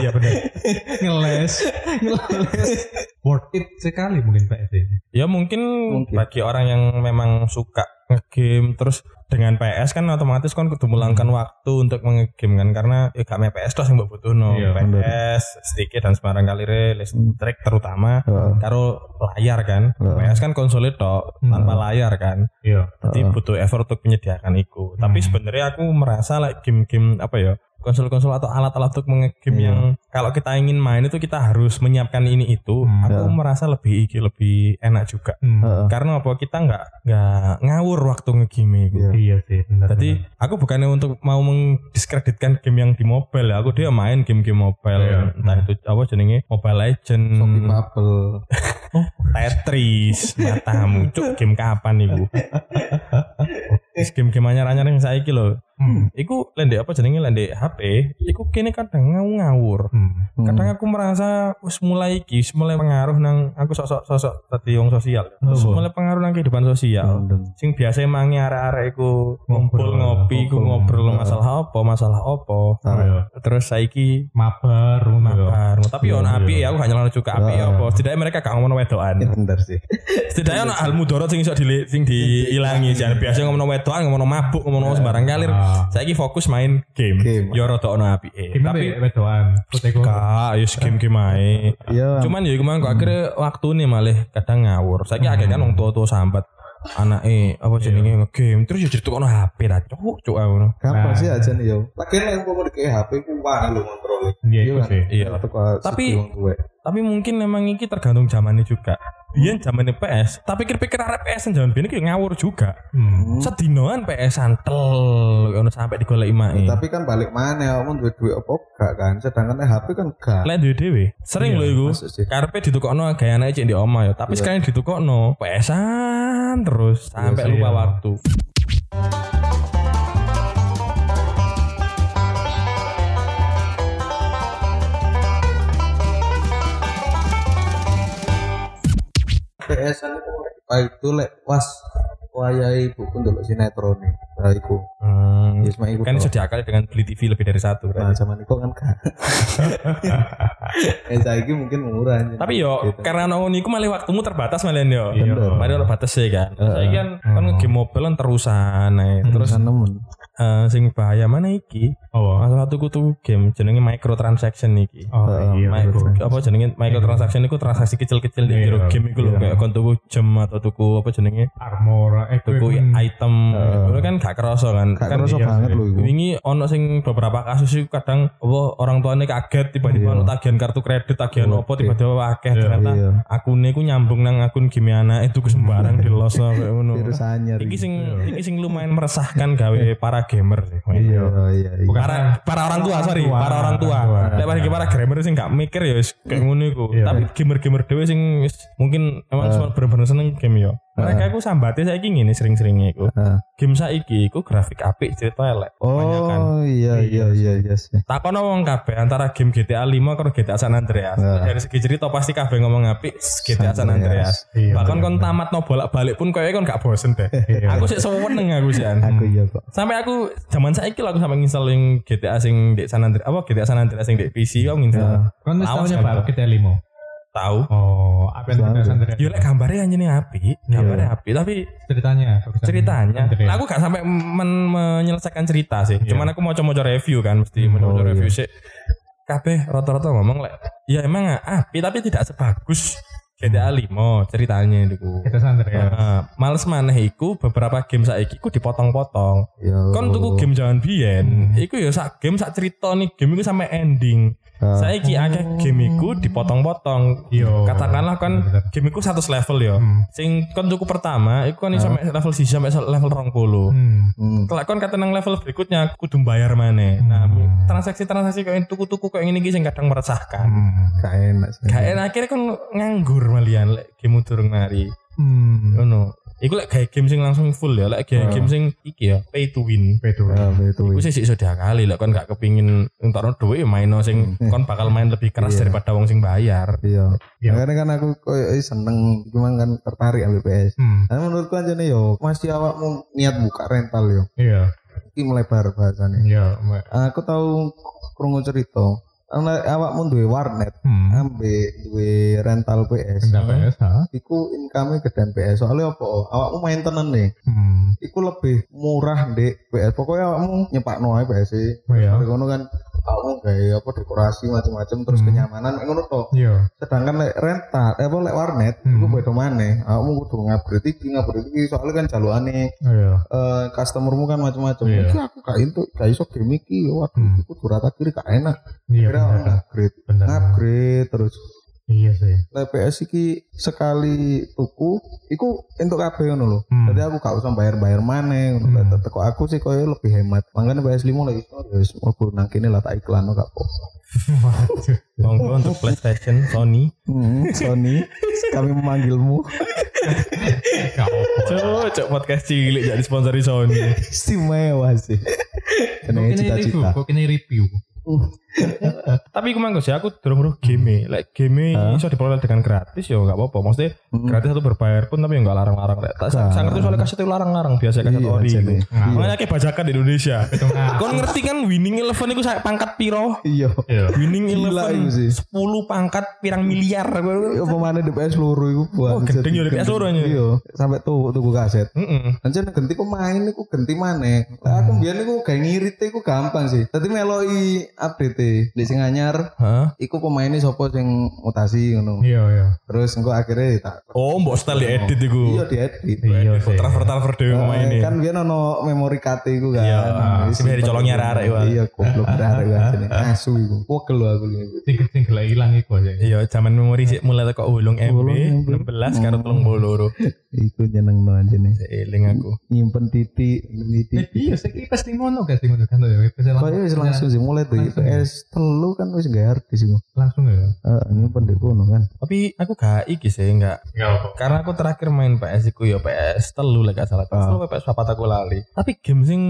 Speaker 3: Iya benar. Ngeles. Ngeles. Worth it sekali mungkin PS ini.
Speaker 1: Ya mungkin,
Speaker 2: Mungkin.
Speaker 1: bagi orang yang memang suka ngegame terus dengan PS kan otomatis kan kudu meluangkan waktu untuk mengegame kan karena ya gak main PS terus yang mbok butuhno.
Speaker 3: Iya,
Speaker 2: bener.
Speaker 1: PS sedikit dan sembarang kali re, listrik terutama
Speaker 2: Heeh.
Speaker 1: karo layar kan.
Speaker 2: Heeh.
Speaker 1: PS kan konsol tok
Speaker 3: Hmm.
Speaker 1: tanpa layar kan.
Speaker 3: Iya.
Speaker 1: Jadi
Speaker 2: Heeh.
Speaker 1: butuh effort untuk menyediakan itu. Tapi
Speaker 3: Hmm.
Speaker 1: sebenarnya aku merasa like game-game apa ya konsol-konsol atau alat-alat untuk mengegame
Speaker 2: Iya.
Speaker 1: yang kalau kita ingin main itu kita harus menyiapkan ini itu.
Speaker 3: Hmm.
Speaker 1: Aku
Speaker 2: Iya.
Speaker 1: merasa lebih iki lebih enak juga
Speaker 3: Hmm.
Speaker 2: Heeh.
Speaker 1: karena apa kita nggak nggak ngawur waktu ngegame gitu.
Speaker 2: Iya.
Speaker 3: Iya sih benar.
Speaker 1: Jadi aku bukannya untuk mau mendiskreditkan game yang di mobile ya. Aku dia main game-game mobile.
Speaker 3: Iya.
Speaker 1: Entah itu apa jenenge Mobile Legend,
Speaker 2: Sopi Mabel.
Speaker 1: Tetris, matamu. Cuk, game kapan iku? Terus game-game anyar-anyar yang saiki lho.
Speaker 3: Hmm.
Speaker 1: Iku lendek apa jenenge lendek HP, iku kene kadang ngawur.
Speaker 3: Hmm.
Speaker 1: Kadang ya. aku merasa wis mulai iki, wis mulai pengaruh nang aku sosok sosok tadi yang sosial. Terus
Speaker 3: Apa? Hmm.
Speaker 1: mulai pengaruh nang kehidupan sosial. sing biasa mangi arek-arek iku ngumpul
Speaker 3: Ngobrol,
Speaker 1: ngopi iku
Speaker 3: ngobrol. Hmm.
Speaker 1: ngobrol masalah apa masalah apa
Speaker 3: Iya.
Speaker 1: terus saiki
Speaker 3: Mabar,
Speaker 1: mabar
Speaker 3: mabar.
Speaker 1: tapi
Speaker 3: Iya,
Speaker 1: ono
Speaker 3: iya.
Speaker 1: api ya aku gak nyelana juga api
Speaker 2: Iya.
Speaker 1: apa setidaknya mereka gak ngomong wedokan
Speaker 2: Ya bener sih.
Speaker 1: setidaknya ono hal mudorot sing iso dili- sing diilangi jangan biasa ngomong wedokan ngomong mabuk ngomong sembarang kalir
Speaker 3: Ah.
Speaker 1: saiki fokus main game,
Speaker 2: Game.
Speaker 1: yo rada ono api Iya, tapi
Speaker 3: Tapi ya, wedoan. Puteko.
Speaker 1: Kak, yo game-game ae.
Speaker 2: Iya.
Speaker 1: Cuman ya kemarin kok akhirnya waktu nih malah kadang ngawur. Saya kira kan orang tua-tua sambat anak eh apa jenenge ngegame terus ya ditukokno HP lah cuk cuk aku no.
Speaker 2: Kapan
Speaker 3: Nah.
Speaker 2: sih iya? aja nih yo? Lagian yang ngomong kayak HP ku wani lho ngontrol.
Speaker 3: Iya
Speaker 2: Iya
Speaker 3: itu
Speaker 2: kan?
Speaker 3: sih.
Speaker 1: Iya lah.
Speaker 2: Itu kok
Speaker 1: Tapi-
Speaker 2: sedih wong tuwek.
Speaker 1: Tapi mungkin memang iki tergantung zamannya juga. Biyen zamannya PS, tapi pikir-pikir arek PS yang zaman biyen iki ngawur juga.
Speaker 3: Hmm.
Speaker 1: Sedinoan PS santel ono sampai digoleki e. mae.
Speaker 2: Tapi kan balik mana kamu duit-duit apa gak kan? Sedangkan eh, HP kan gak.
Speaker 1: Lek duwe dhewe. Sering
Speaker 3: Iya,
Speaker 1: lho iku.
Speaker 2: Masuk sih.
Speaker 1: Karepe ditukokno gaya anake cek di oma ya, tapi sekarang ditukokno PS-an terus sampai
Speaker 3: sih,
Speaker 1: lupa
Speaker 3: Iya. iya.
Speaker 1: waktu.
Speaker 2: PS an itu wah itu lek was wayahe ibuku ndelok sinetron e. Nah iku.
Speaker 1: Hmm,
Speaker 2: Ya cuma iku.
Speaker 1: kan
Speaker 2: tok.
Speaker 1: bisa diakali dengan beli TV lebih dari satu
Speaker 2: Nah
Speaker 1: berarti.
Speaker 2: zaman iku kan gak. Eh saiki mungkin murah aja.
Speaker 1: Tapi yo kan
Speaker 2: Gitu.
Speaker 1: karena ono niku malah waktumu terbatas malah yo.
Speaker 3: Iya.
Speaker 1: Mari ono batasnya kan.
Speaker 2: Heeh.
Speaker 1: Saiki kan kan
Speaker 3: Hmm.
Speaker 1: game mobile kan terusan ae. Terus
Speaker 2: Kan nemen.
Speaker 1: eh, sing bahaya mana iki?
Speaker 3: Oh.
Speaker 1: Salah satu kutu game jenenge microtransaction iki.
Speaker 3: Oh iya.
Speaker 1: Mi-
Speaker 3: betul.
Speaker 1: apa jenenge microtransaction iku transaksi kecil-kecil di
Speaker 3: Iya.
Speaker 1: jero game iku lho kayak
Speaker 2: Iya.
Speaker 1: kon tuku jam atau tuku apa jenenge
Speaker 3: Armor. Eh
Speaker 1: tuku item itu kan gak kerasa kan
Speaker 2: Mm-hmm. Gak
Speaker 1: kan
Speaker 2: kerasa
Speaker 3: iya
Speaker 2: banget
Speaker 3: sih.
Speaker 2: lho iku.
Speaker 1: Wingi ono sing beberapa kasus itu kadang apa orang tuane kaget tiba-tiba
Speaker 2: Iya.
Speaker 1: ono tagihan kartu kredit, tagihan
Speaker 2: Oke.
Speaker 1: apa tiba-tiba akeh
Speaker 3: Iya,
Speaker 1: ternyata
Speaker 2: Iya.
Speaker 1: akune ku nyambung nang akun gimiana itu ku sembarang di los kayak ngono.
Speaker 2: Virus anyar.
Speaker 1: Iki
Speaker 2: iki.
Speaker 1: sing iki sing lumayan meresahkan gawe para gamer sih.
Speaker 2: Iya iya iya.
Speaker 3: Bukan
Speaker 1: Para para orang tua, sorry,
Speaker 3: Orang tua.
Speaker 1: para orang tua.
Speaker 3: Orang tua.
Speaker 1: Lek bagi para gamer sing gak mikir ya wis kayak ngono iku.
Speaker 3: Iya.
Speaker 1: Tapi gamer-gamer dhewe sing wis mungkin emang cuma bener-bener seneng game
Speaker 3: Iya.
Speaker 1: yo. Mereka iku sambate saiki ngene sering-seringe iku.
Speaker 2: Heeh.
Speaker 1: Game saiki iku grafik apik cerita elek. kebanyakan.
Speaker 2: Oh iya iya iya iya sih.
Speaker 1: Takono wong kabeh antara game GTA 5 karo GTA San Andreas.
Speaker 2: Nah.
Speaker 1: Dari segi cerita pasti kabeh ngomong apik GTA San Andreas.
Speaker 3: Iya,
Speaker 1: Bahkan kon tamat no bolak-balik pun kayaknya kon gak bosen deh.
Speaker 3: Iya.
Speaker 1: aku sih seneng aku sih. An.
Speaker 2: Aku iya kok.
Speaker 1: Sampai aku zaman saiki lho aku sampe nginstal yang GTA sing di San Andreas apa GTA San Andreas sing di PC aku
Speaker 2: Iya. Nah,
Speaker 1: nginstal.
Speaker 3: Kan wis
Speaker 1: Lawas
Speaker 3: tau
Speaker 1: kan,
Speaker 3: nyebar
Speaker 1: Bro.
Speaker 3: kita limo.
Speaker 1: Tahu.
Speaker 3: Oh, apa
Speaker 2: Selalu.
Speaker 3: yang kita sendiri?
Speaker 1: Yo lek gambare anjene apik, gambare apik tapi
Speaker 3: ceritanya. bagusan.
Speaker 1: ceritanya
Speaker 3: Sendiri.
Speaker 1: aku gak sampai men- menyelesaikan cerita sih. Cuman aku mau coba review kan mesti mau coba
Speaker 2: Oh,
Speaker 1: review sih. Kabeh rata-rata ngomong lek ya emang apik tapi tidak sebagus GTA 5 ceritanya itu.
Speaker 3: kita sendiri ya.
Speaker 1: Heeh, males maneh iku beberapa game saiki iku dipotong-potong.
Speaker 2: Ya.
Speaker 1: Kon tuku game jangan biyen, iku ya sak game sak cerita nih game iku sampai ending.
Speaker 2: Ah.
Speaker 1: Saiki akeh game iku dipotong-potong.
Speaker 3: Yo.
Speaker 1: Katakanlah kan. kon
Speaker 3: Bener.
Speaker 1: game iku 100 level ya.
Speaker 3: Iya. Hmm.
Speaker 1: Sing kon tuku pertama iku kan iso sampai level siji sampai level 20.
Speaker 3: Hmm.
Speaker 2: Hmm.
Speaker 1: Kelak kon kata nang level berikutnya kudu bayar maneh. Nah, transaksi-transaksi kok tuku-tuku kok ini iki sing kadang meresahkan.
Speaker 3: Hmm.
Speaker 2: Gak enak sih.
Speaker 1: Kayak akhirnya kon nganggur malian lek game durung mari.
Speaker 3: Hmm.
Speaker 1: Ngono. Iku lek kayak game sing langsung full ya, lek kayak
Speaker 2: Ah.
Speaker 1: game sing iki ya, pay to win.
Speaker 3: Bedo.
Speaker 2: Ya, itu.
Speaker 1: Iku sih sih sudah kali lek kon gak kepingin entarno duit ya main no sing kon bakal main lebih keras
Speaker 2: Hmm. Iya.
Speaker 1: daripada wong sing bayar.
Speaker 2: Iya.
Speaker 3: Iya.
Speaker 2: Makanya kan aku koyo eh, seneng cuman kan tertarik ambil PS.
Speaker 1: Hmm,
Speaker 2: Nah, menurutku aja nih yo, masih awakmu niat buka rental yo.
Speaker 1: iya,
Speaker 2: Ini melebar bahasannya.
Speaker 1: iya. Mbak.
Speaker 2: Aku tahu krungu cerita. Ana- Awakmu duwe warnet,
Speaker 1: Hmm.
Speaker 2: ambe duwe rental PS.
Speaker 3: Enggak PS, ha?
Speaker 2: Iku income gedean PS. Soalnya apa? Awakmu main tenan nih.
Speaker 1: Hmm.
Speaker 2: Iku lebih murah dek PS. Pokoknya awakmu nyepakno ae PS. -e.
Speaker 1: oh
Speaker 3: Iya.
Speaker 2: Dari kono kan awakmu gawe apa dekorasi macam-macam terus
Speaker 3: Hmm.
Speaker 2: kenyamanan kayak ngono tok.
Speaker 3: Iya.
Speaker 2: sedangkan lek rental eh apa lek warnet
Speaker 3: Hmm.
Speaker 2: itu beda mana aku kudu ngupgrade iki ngupgrade iki soalnya kan jaluane
Speaker 3: Iya.
Speaker 2: eh customermu kan macam-macam
Speaker 3: Iya.
Speaker 2: iki aku gak itu gak iso game iki Ya, waduh
Speaker 3: Hmm.
Speaker 2: aku kudu rata kiri gak enak
Speaker 3: Iya.
Speaker 2: kira
Speaker 3: bener.
Speaker 2: upgrade
Speaker 3: Bener.
Speaker 2: upgrade terus
Speaker 3: Iya sih.
Speaker 2: lek PS iki sekali tuku iku entuk kabeh ngono lho
Speaker 3: Hmm.
Speaker 2: jadi aku gak usah bayar-bayar maneh ngono
Speaker 3: Hmm.
Speaker 2: Lah, tetep kok aku sih koyo lebih hemat makanya PS5 lagi iso ya wis mlebu nang kene lah tak iklan oh, gak apa-apa
Speaker 3: Waduh.
Speaker 1: Monggo untuk PlayStation Sony.
Speaker 2: Hmm, Sony kami memanggilmu
Speaker 3: Gak apa-apa.
Speaker 1: Cuk, cuk podcast cilik jadi sponsori Sony.
Speaker 2: istimewa sih
Speaker 3: Kok
Speaker 2: jenenge
Speaker 3: kini review,
Speaker 2: cita-cita Iya,
Speaker 3: kok kini review.
Speaker 1: Tapi aku mangko sih aku durung
Speaker 2: Hmm.
Speaker 1: roh game, lek game iso diperoleh dengan gratis ya enggak apa-apa. Maksudnya
Speaker 2: Hmm.
Speaker 1: gratis atau berbayar pun tapi ya enggak larang-larang. Lek tak
Speaker 2: Gak.
Speaker 1: sangat soalnya kaset itu larang-larang biasa kaset
Speaker 2: Iya,
Speaker 1: ori. gitu.
Speaker 2: jene.
Speaker 3: Nah,
Speaker 1: Makanya kayak bajakan di Indonesia.
Speaker 3: Tengah.
Speaker 1: Kon ngerti kan winning eleven itu saya pangkat piro?
Speaker 2: iya
Speaker 3: Iya.
Speaker 1: Winning
Speaker 2: Gila itu
Speaker 1: eleven
Speaker 2: sih.
Speaker 1: 10 pangkat pirang miliar.
Speaker 2: apa mana DPS peluru itu buat
Speaker 1: Oh, gendeng ya DPS peluru nya.
Speaker 2: iya sampai tuh tuku kaset
Speaker 1: Heeh.
Speaker 2: Anjir genti ku main niku genti mana lah aku biar niku gak ngirit iku gampang sih tadi meloi update di sing anyar
Speaker 1: Hah?
Speaker 2: iku pemainnya sopo sing mutasi ngono
Speaker 3: Iya, iya.
Speaker 2: terus engko akhirnya tak
Speaker 1: Oh, mbok style di edit
Speaker 2: iya
Speaker 1: iku.
Speaker 2: di edit
Speaker 3: Iya sih.
Speaker 1: Transfer transfer dhewe ngomong ini.
Speaker 2: kan biar ono memori card iku kan
Speaker 1: Iya,
Speaker 2: Nah,
Speaker 1: sing dari colongnya arek-arek, Wak.
Speaker 2: iya goblok arek kan asu iku wogel lho aku lihat
Speaker 3: Tinggal-tinggal hilang iku aja.
Speaker 1: Iya, zaman memori sih mulai teko 8 MB, 16 karo
Speaker 2: Hmm.
Speaker 1: 32.
Speaker 2: Iku jeneng no anjene.
Speaker 1: Eling aku.
Speaker 2: Nyimpen titik,
Speaker 3: Eh,
Speaker 2: titik.
Speaker 3: Iya, saya kira pasti ngono guys, ngono kan tuh ya. Bisa lang-
Speaker 2: Kayaknya wis langsung sih mulai dari
Speaker 3: Langsung.
Speaker 2: PS telu kan wis gak artis iku.
Speaker 3: langsung ya.
Speaker 2: Heeh, nyimpen di kono kan.
Speaker 1: Tapi aku gak iki sih, enggak.
Speaker 3: Enggak apa.
Speaker 1: Karena aku terakhir main PS iku ya PS telu lah gak salah. PS
Speaker 2: Ah.
Speaker 1: telu apa PS papat aku lali. Tapi game sing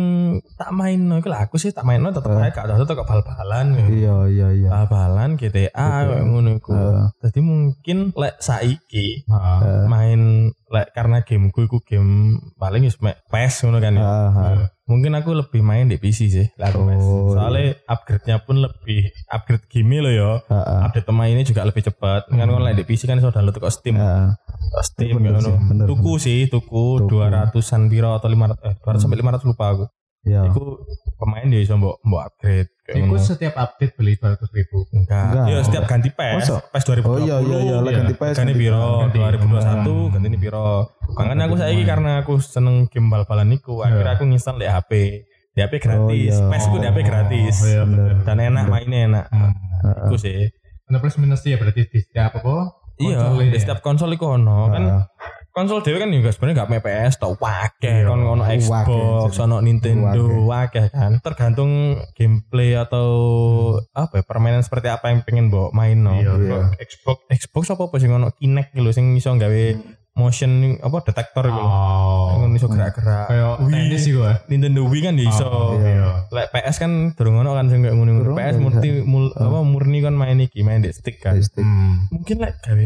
Speaker 1: tak main no, iku lah aku sih tak main no tetep ae gak ada tetep bal-balan. ya.
Speaker 2: Ah. Iya, Ah. iya, iya.
Speaker 1: Bal-balan GTA kayak ngono iku.
Speaker 2: Heeh.
Speaker 1: Jadi mungkin lek saiki
Speaker 3: Heeh.
Speaker 1: main lek karena gameku iku game paling wis mek PS ngono kan ya.
Speaker 2: Heeh.
Speaker 1: Mungkin aku lebih main di PC sih lah aku mas.
Speaker 2: Ah. Oh,
Speaker 1: Soalnya upgrade-nya pun lebih upgrade game lo ya.
Speaker 2: Heeh.
Speaker 1: Update tema ini juga lebih cepat. Kan kalau lek di PC kan iso download kok Steam.
Speaker 2: Heeh.
Speaker 1: Steam
Speaker 2: Ah. Bener
Speaker 1: ya
Speaker 2: sih,
Speaker 1: ono.
Speaker 2: bener,
Speaker 1: Tuku sih, tuku,
Speaker 2: Tuku. Hmm.
Speaker 1: 200-an piro atau 500 eh 200 sampai 500 lupa aku.
Speaker 2: Iya.
Speaker 1: Iku pemain dia iso mbok mbok upgrade kayak
Speaker 3: Iku
Speaker 1: Iya, ngono.
Speaker 3: setiap update beli 200 ribu.
Speaker 1: Enggak.
Speaker 2: Enggak.
Speaker 1: Ya setiap ganti PES,
Speaker 2: Masa?
Speaker 1: PES 2020.
Speaker 2: Oh iya, iya, iya, lah ganti PS.
Speaker 1: Ganti piro
Speaker 3: Ganti.
Speaker 1: 2021, ganti ini piro. Makanya aku
Speaker 3: ganti Iya.
Speaker 1: saiki
Speaker 3: pemain.
Speaker 1: karena aku seneng game bal-balan niku, akhirnya aku nginstal di HP. Di HP gratis,
Speaker 2: iya.
Speaker 1: PES ku di HP gratis.
Speaker 3: Oh, iya, bener.
Speaker 1: Dan enak mainnya enak.
Speaker 3: Hmm.
Speaker 1: Iku sih.
Speaker 3: Ada plus minusnya ya berarti di setiap apa?
Speaker 1: Iya,
Speaker 3: Konsolnya
Speaker 1: di
Speaker 3: ya.
Speaker 1: setiap konsol iku ono kan konsol dhewe kan juga sebenarnya gak PS tau wakeh
Speaker 3: Iya.
Speaker 1: kan ono
Speaker 2: Wakeh,
Speaker 1: Xbox
Speaker 2: jadi.
Speaker 1: ono Nintendo
Speaker 2: Wakeh.
Speaker 1: wakeh kan tergantung gameplay atau apa ya, permainan seperti apa yang pengen mbok main no
Speaker 3: Iya.
Speaker 1: Kok Xbox Xbox apa apa sing ono Kinect gitu sing iso gawe motion apa detektor gitu
Speaker 3: Oh.
Speaker 1: Yang iso gerak-gerak
Speaker 3: Kayak
Speaker 1: Wii.
Speaker 3: tenis sih gua.
Speaker 1: Nintendo Wii kan ya iso
Speaker 3: Iya.
Speaker 1: Lek PS kan durung ono kan sing kayak ngono-ngono.
Speaker 2: Durung,
Speaker 1: PS
Speaker 2: nggak
Speaker 1: murni mul- apa murni kan main iki main di stick kan
Speaker 2: Stick.
Speaker 3: Hmm.
Speaker 1: mungkin lek gawe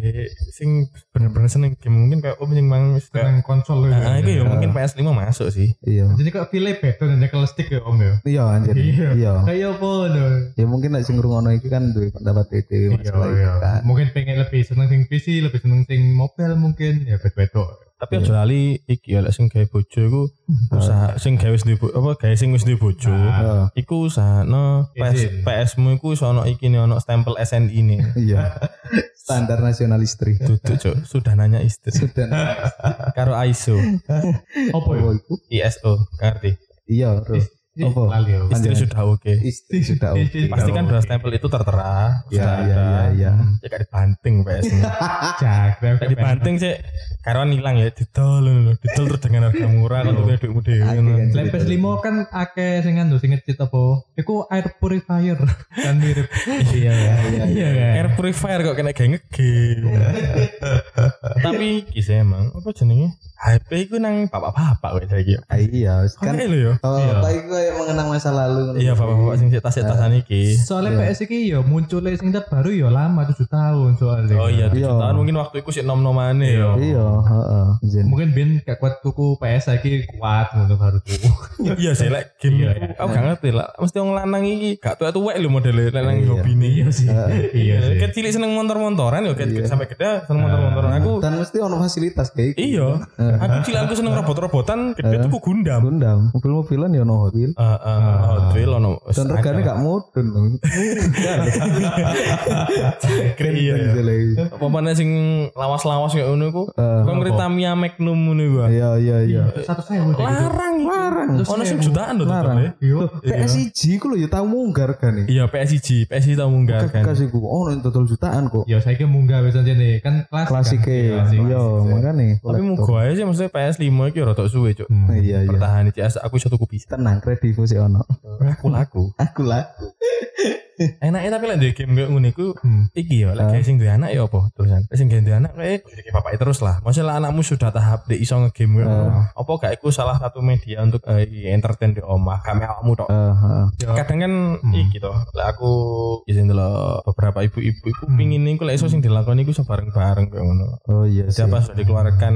Speaker 1: sing bener-bener seneng game mungkin kayak om sing mang wis kayak-
Speaker 3: Dengan konsol lu.
Speaker 1: Nah, itu ya mungkin PS5 masuk sih.
Speaker 2: Iya.
Speaker 3: Jadi kok pilih beda dan kalau stick ya om ya.
Speaker 2: Iya anjir. Iya.
Speaker 3: Kayak apa dong?
Speaker 2: Ya mungkin nek sing ngrungokno iki kan duwe pendapat dhewe
Speaker 3: Iya,
Speaker 2: masalah
Speaker 3: iya.
Speaker 2: iki kan.
Speaker 3: Mungkin pengen lebih seneng sing PC, lebih seneng sing mobile mungkin ya beda-beda.
Speaker 1: Tapi aja
Speaker 2: Iya.
Speaker 1: lali iki ya lek sing gawe bojo iku
Speaker 2: Hmm.
Speaker 1: usaha sing gawe wis duwe bo- apa gawe sing wis duwe bojo.
Speaker 2: Heeh.
Speaker 1: Iku usahane PS
Speaker 3: Izin.
Speaker 1: PS-mu iku iso ono iki ne ono stempel SNI ne.
Speaker 2: Iya. Standar nasional istri.
Speaker 1: Duduk cuk, sudah nanya istri
Speaker 2: Sudah.
Speaker 1: karo ISO,
Speaker 3: Apa ya?
Speaker 2: Oh, iku.
Speaker 1: ISO, ngerti?
Speaker 2: Iya, bro.
Speaker 3: Ih,
Speaker 2: Apa?
Speaker 3: lali ya.
Speaker 1: Istri
Speaker 3: aku.
Speaker 2: Panjangan.
Speaker 1: sudah oke.
Speaker 3: Istri
Speaker 2: Sudah
Speaker 3: sudah
Speaker 2: oke.
Speaker 1: Pasti kan dua
Speaker 3: ya.
Speaker 1: stempel itu tertera.
Speaker 2: Iya,
Speaker 1: sudah
Speaker 2: iya,
Speaker 1: ada.
Speaker 2: iya, iya.
Speaker 1: Ya kayak dibanting PS.
Speaker 3: Jagrem
Speaker 1: Kayak dibanting sih karuan hilang ya didol lho, didol terus dengan harga
Speaker 2: Iya.
Speaker 1: murah kan duitnya duitmu dhewe ngono.
Speaker 2: Akhirnya.
Speaker 3: Lepes limo kan akeh sing ngandung sing ngecit apa? Iku air purifier kan mirip. kan?
Speaker 2: Iya, iya, iya.
Speaker 1: Air purifier kok kena geng Tapi iki sih emang apa jenenge? HP iku nang bapak-bapak kok saiki.
Speaker 2: Ah, Iya, kan
Speaker 1: Kan lho ya.
Speaker 2: kalau
Speaker 1: Iya.
Speaker 2: apa itu kayak mengenang masa lalu.
Speaker 1: Iya bapak-bapak sing tas tasan iki.
Speaker 3: Soalnya PS iki yo munculnya sing baru yo lama 7 tahun soalnya.
Speaker 1: Oh iya, tujuh
Speaker 2: Iya.
Speaker 1: tahun mungkin waktu iku sik nom-nomane ya.
Speaker 2: Iya, heeh. Jen.
Speaker 3: Mungkin Ben gak kuat tuku PS lagi kuat ngono baru tuku.
Speaker 1: Iya sih lek game
Speaker 3: Iya,
Speaker 1: aku aku gak ngerti lah. Mesti wong lanang iki gak tuwek-tuwek lho modele lek nang
Speaker 2: Iya.
Speaker 1: hobine. Iya kan. sih.
Speaker 3: Iya sih.
Speaker 1: Kecil seneng motor-motoran ya,
Speaker 2: Iya.
Speaker 1: kecil sampai gede seneng motor-motoran. Aku
Speaker 2: Dan mesti ono fasilitas kayak gitu.
Speaker 1: Iya.
Speaker 2: Eh.
Speaker 1: Aku cilik aku seneng robot-robotan, gede tuku Gundam.
Speaker 2: Gundam, mobil-mobilan ya ono Hot Wheels.
Speaker 1: Heeh, Hot Wheels ono.
Speaker 2: Dan regane gak mudun. loh.
Speaker 1: Iya, keren iya.
Speaker 2: Gitu
Speaker 1: ya.
Speaker 2: lagi.
Speaker 1: Apa mana sing lawas-lawas kayak ngono iku?
Speaker 2: Eh,
Speaker 1: Kok ngerti Tamiya Magnum ngono iku. ah.
Speaker 2: Iya, iya, iya.
Speaker 3: Satu saya udah
Speaker 1: Larang, larang. Ono sing jutaan lho
Speaker 2: Larang.
Speaker 1: totalnya.
Speaker 3: Yo.
Speaker 2: PSIG ku lho ya tau munggar kan
Speaker 1: ya.
Speaker 2: nih.
Speaker 1: Iya, PSIG, PSIG tau munggah kan.
Speaker 2: Kasih ku ono yang total jutaan kok.
Speaker 3: Yo saya munggah wis jane
Speaker 1: Iya,
Speaker 3: kan
Speaker 2: Klasik
Speaker 3: klasik. kan? Klasik.
Speaker 2: Iya, makane.
Speaker 1: Tapi
Speaker 2: laptop.
Speaker 1: mugo aja sih maksudnya PS5 iki rotok suwe, Cuk.
Speaker 3: Hmm.
Speaker 2: Iya, iya.
Speaker 1: Bertahan iki as- aku iso tuku pisan.
Speaker 2: Tenang, kredivo sih ono.
Speaker 1: Aku laku.
Speaker 2: Aku lah.
Speaker 1: Enaknya tapi lek duwe game kayak ngono iku
Speaker 3: Hmm.
Speaker 1: iki ya lek
Speaker 2: Ah.
Speaker 1: kayak sing duwe anak ya apa terusan. Lek sing gak duwe anak kayak iki bapaknya terus lah. Maksudnya lah anakmu sudah tahap di iso ngegame kayak ngono.
Speaker 2: Ah.
Speaker 1: Apa gak iku salah satu media untuk eh, iki, entertain di omah. Kami awakmu tok.
Speaker 2: Eh, heeh.
Speaker 1: Kadang kan iki toh. Lek aku izin dulu beberapa ibu-ibu iku pingin iku lek iso sing dilakoni iku iso bareng-bareng kayak ngono.
Speaker 2: Oh iya sih.
Speaker 1: Siapa sudah dikeluarkan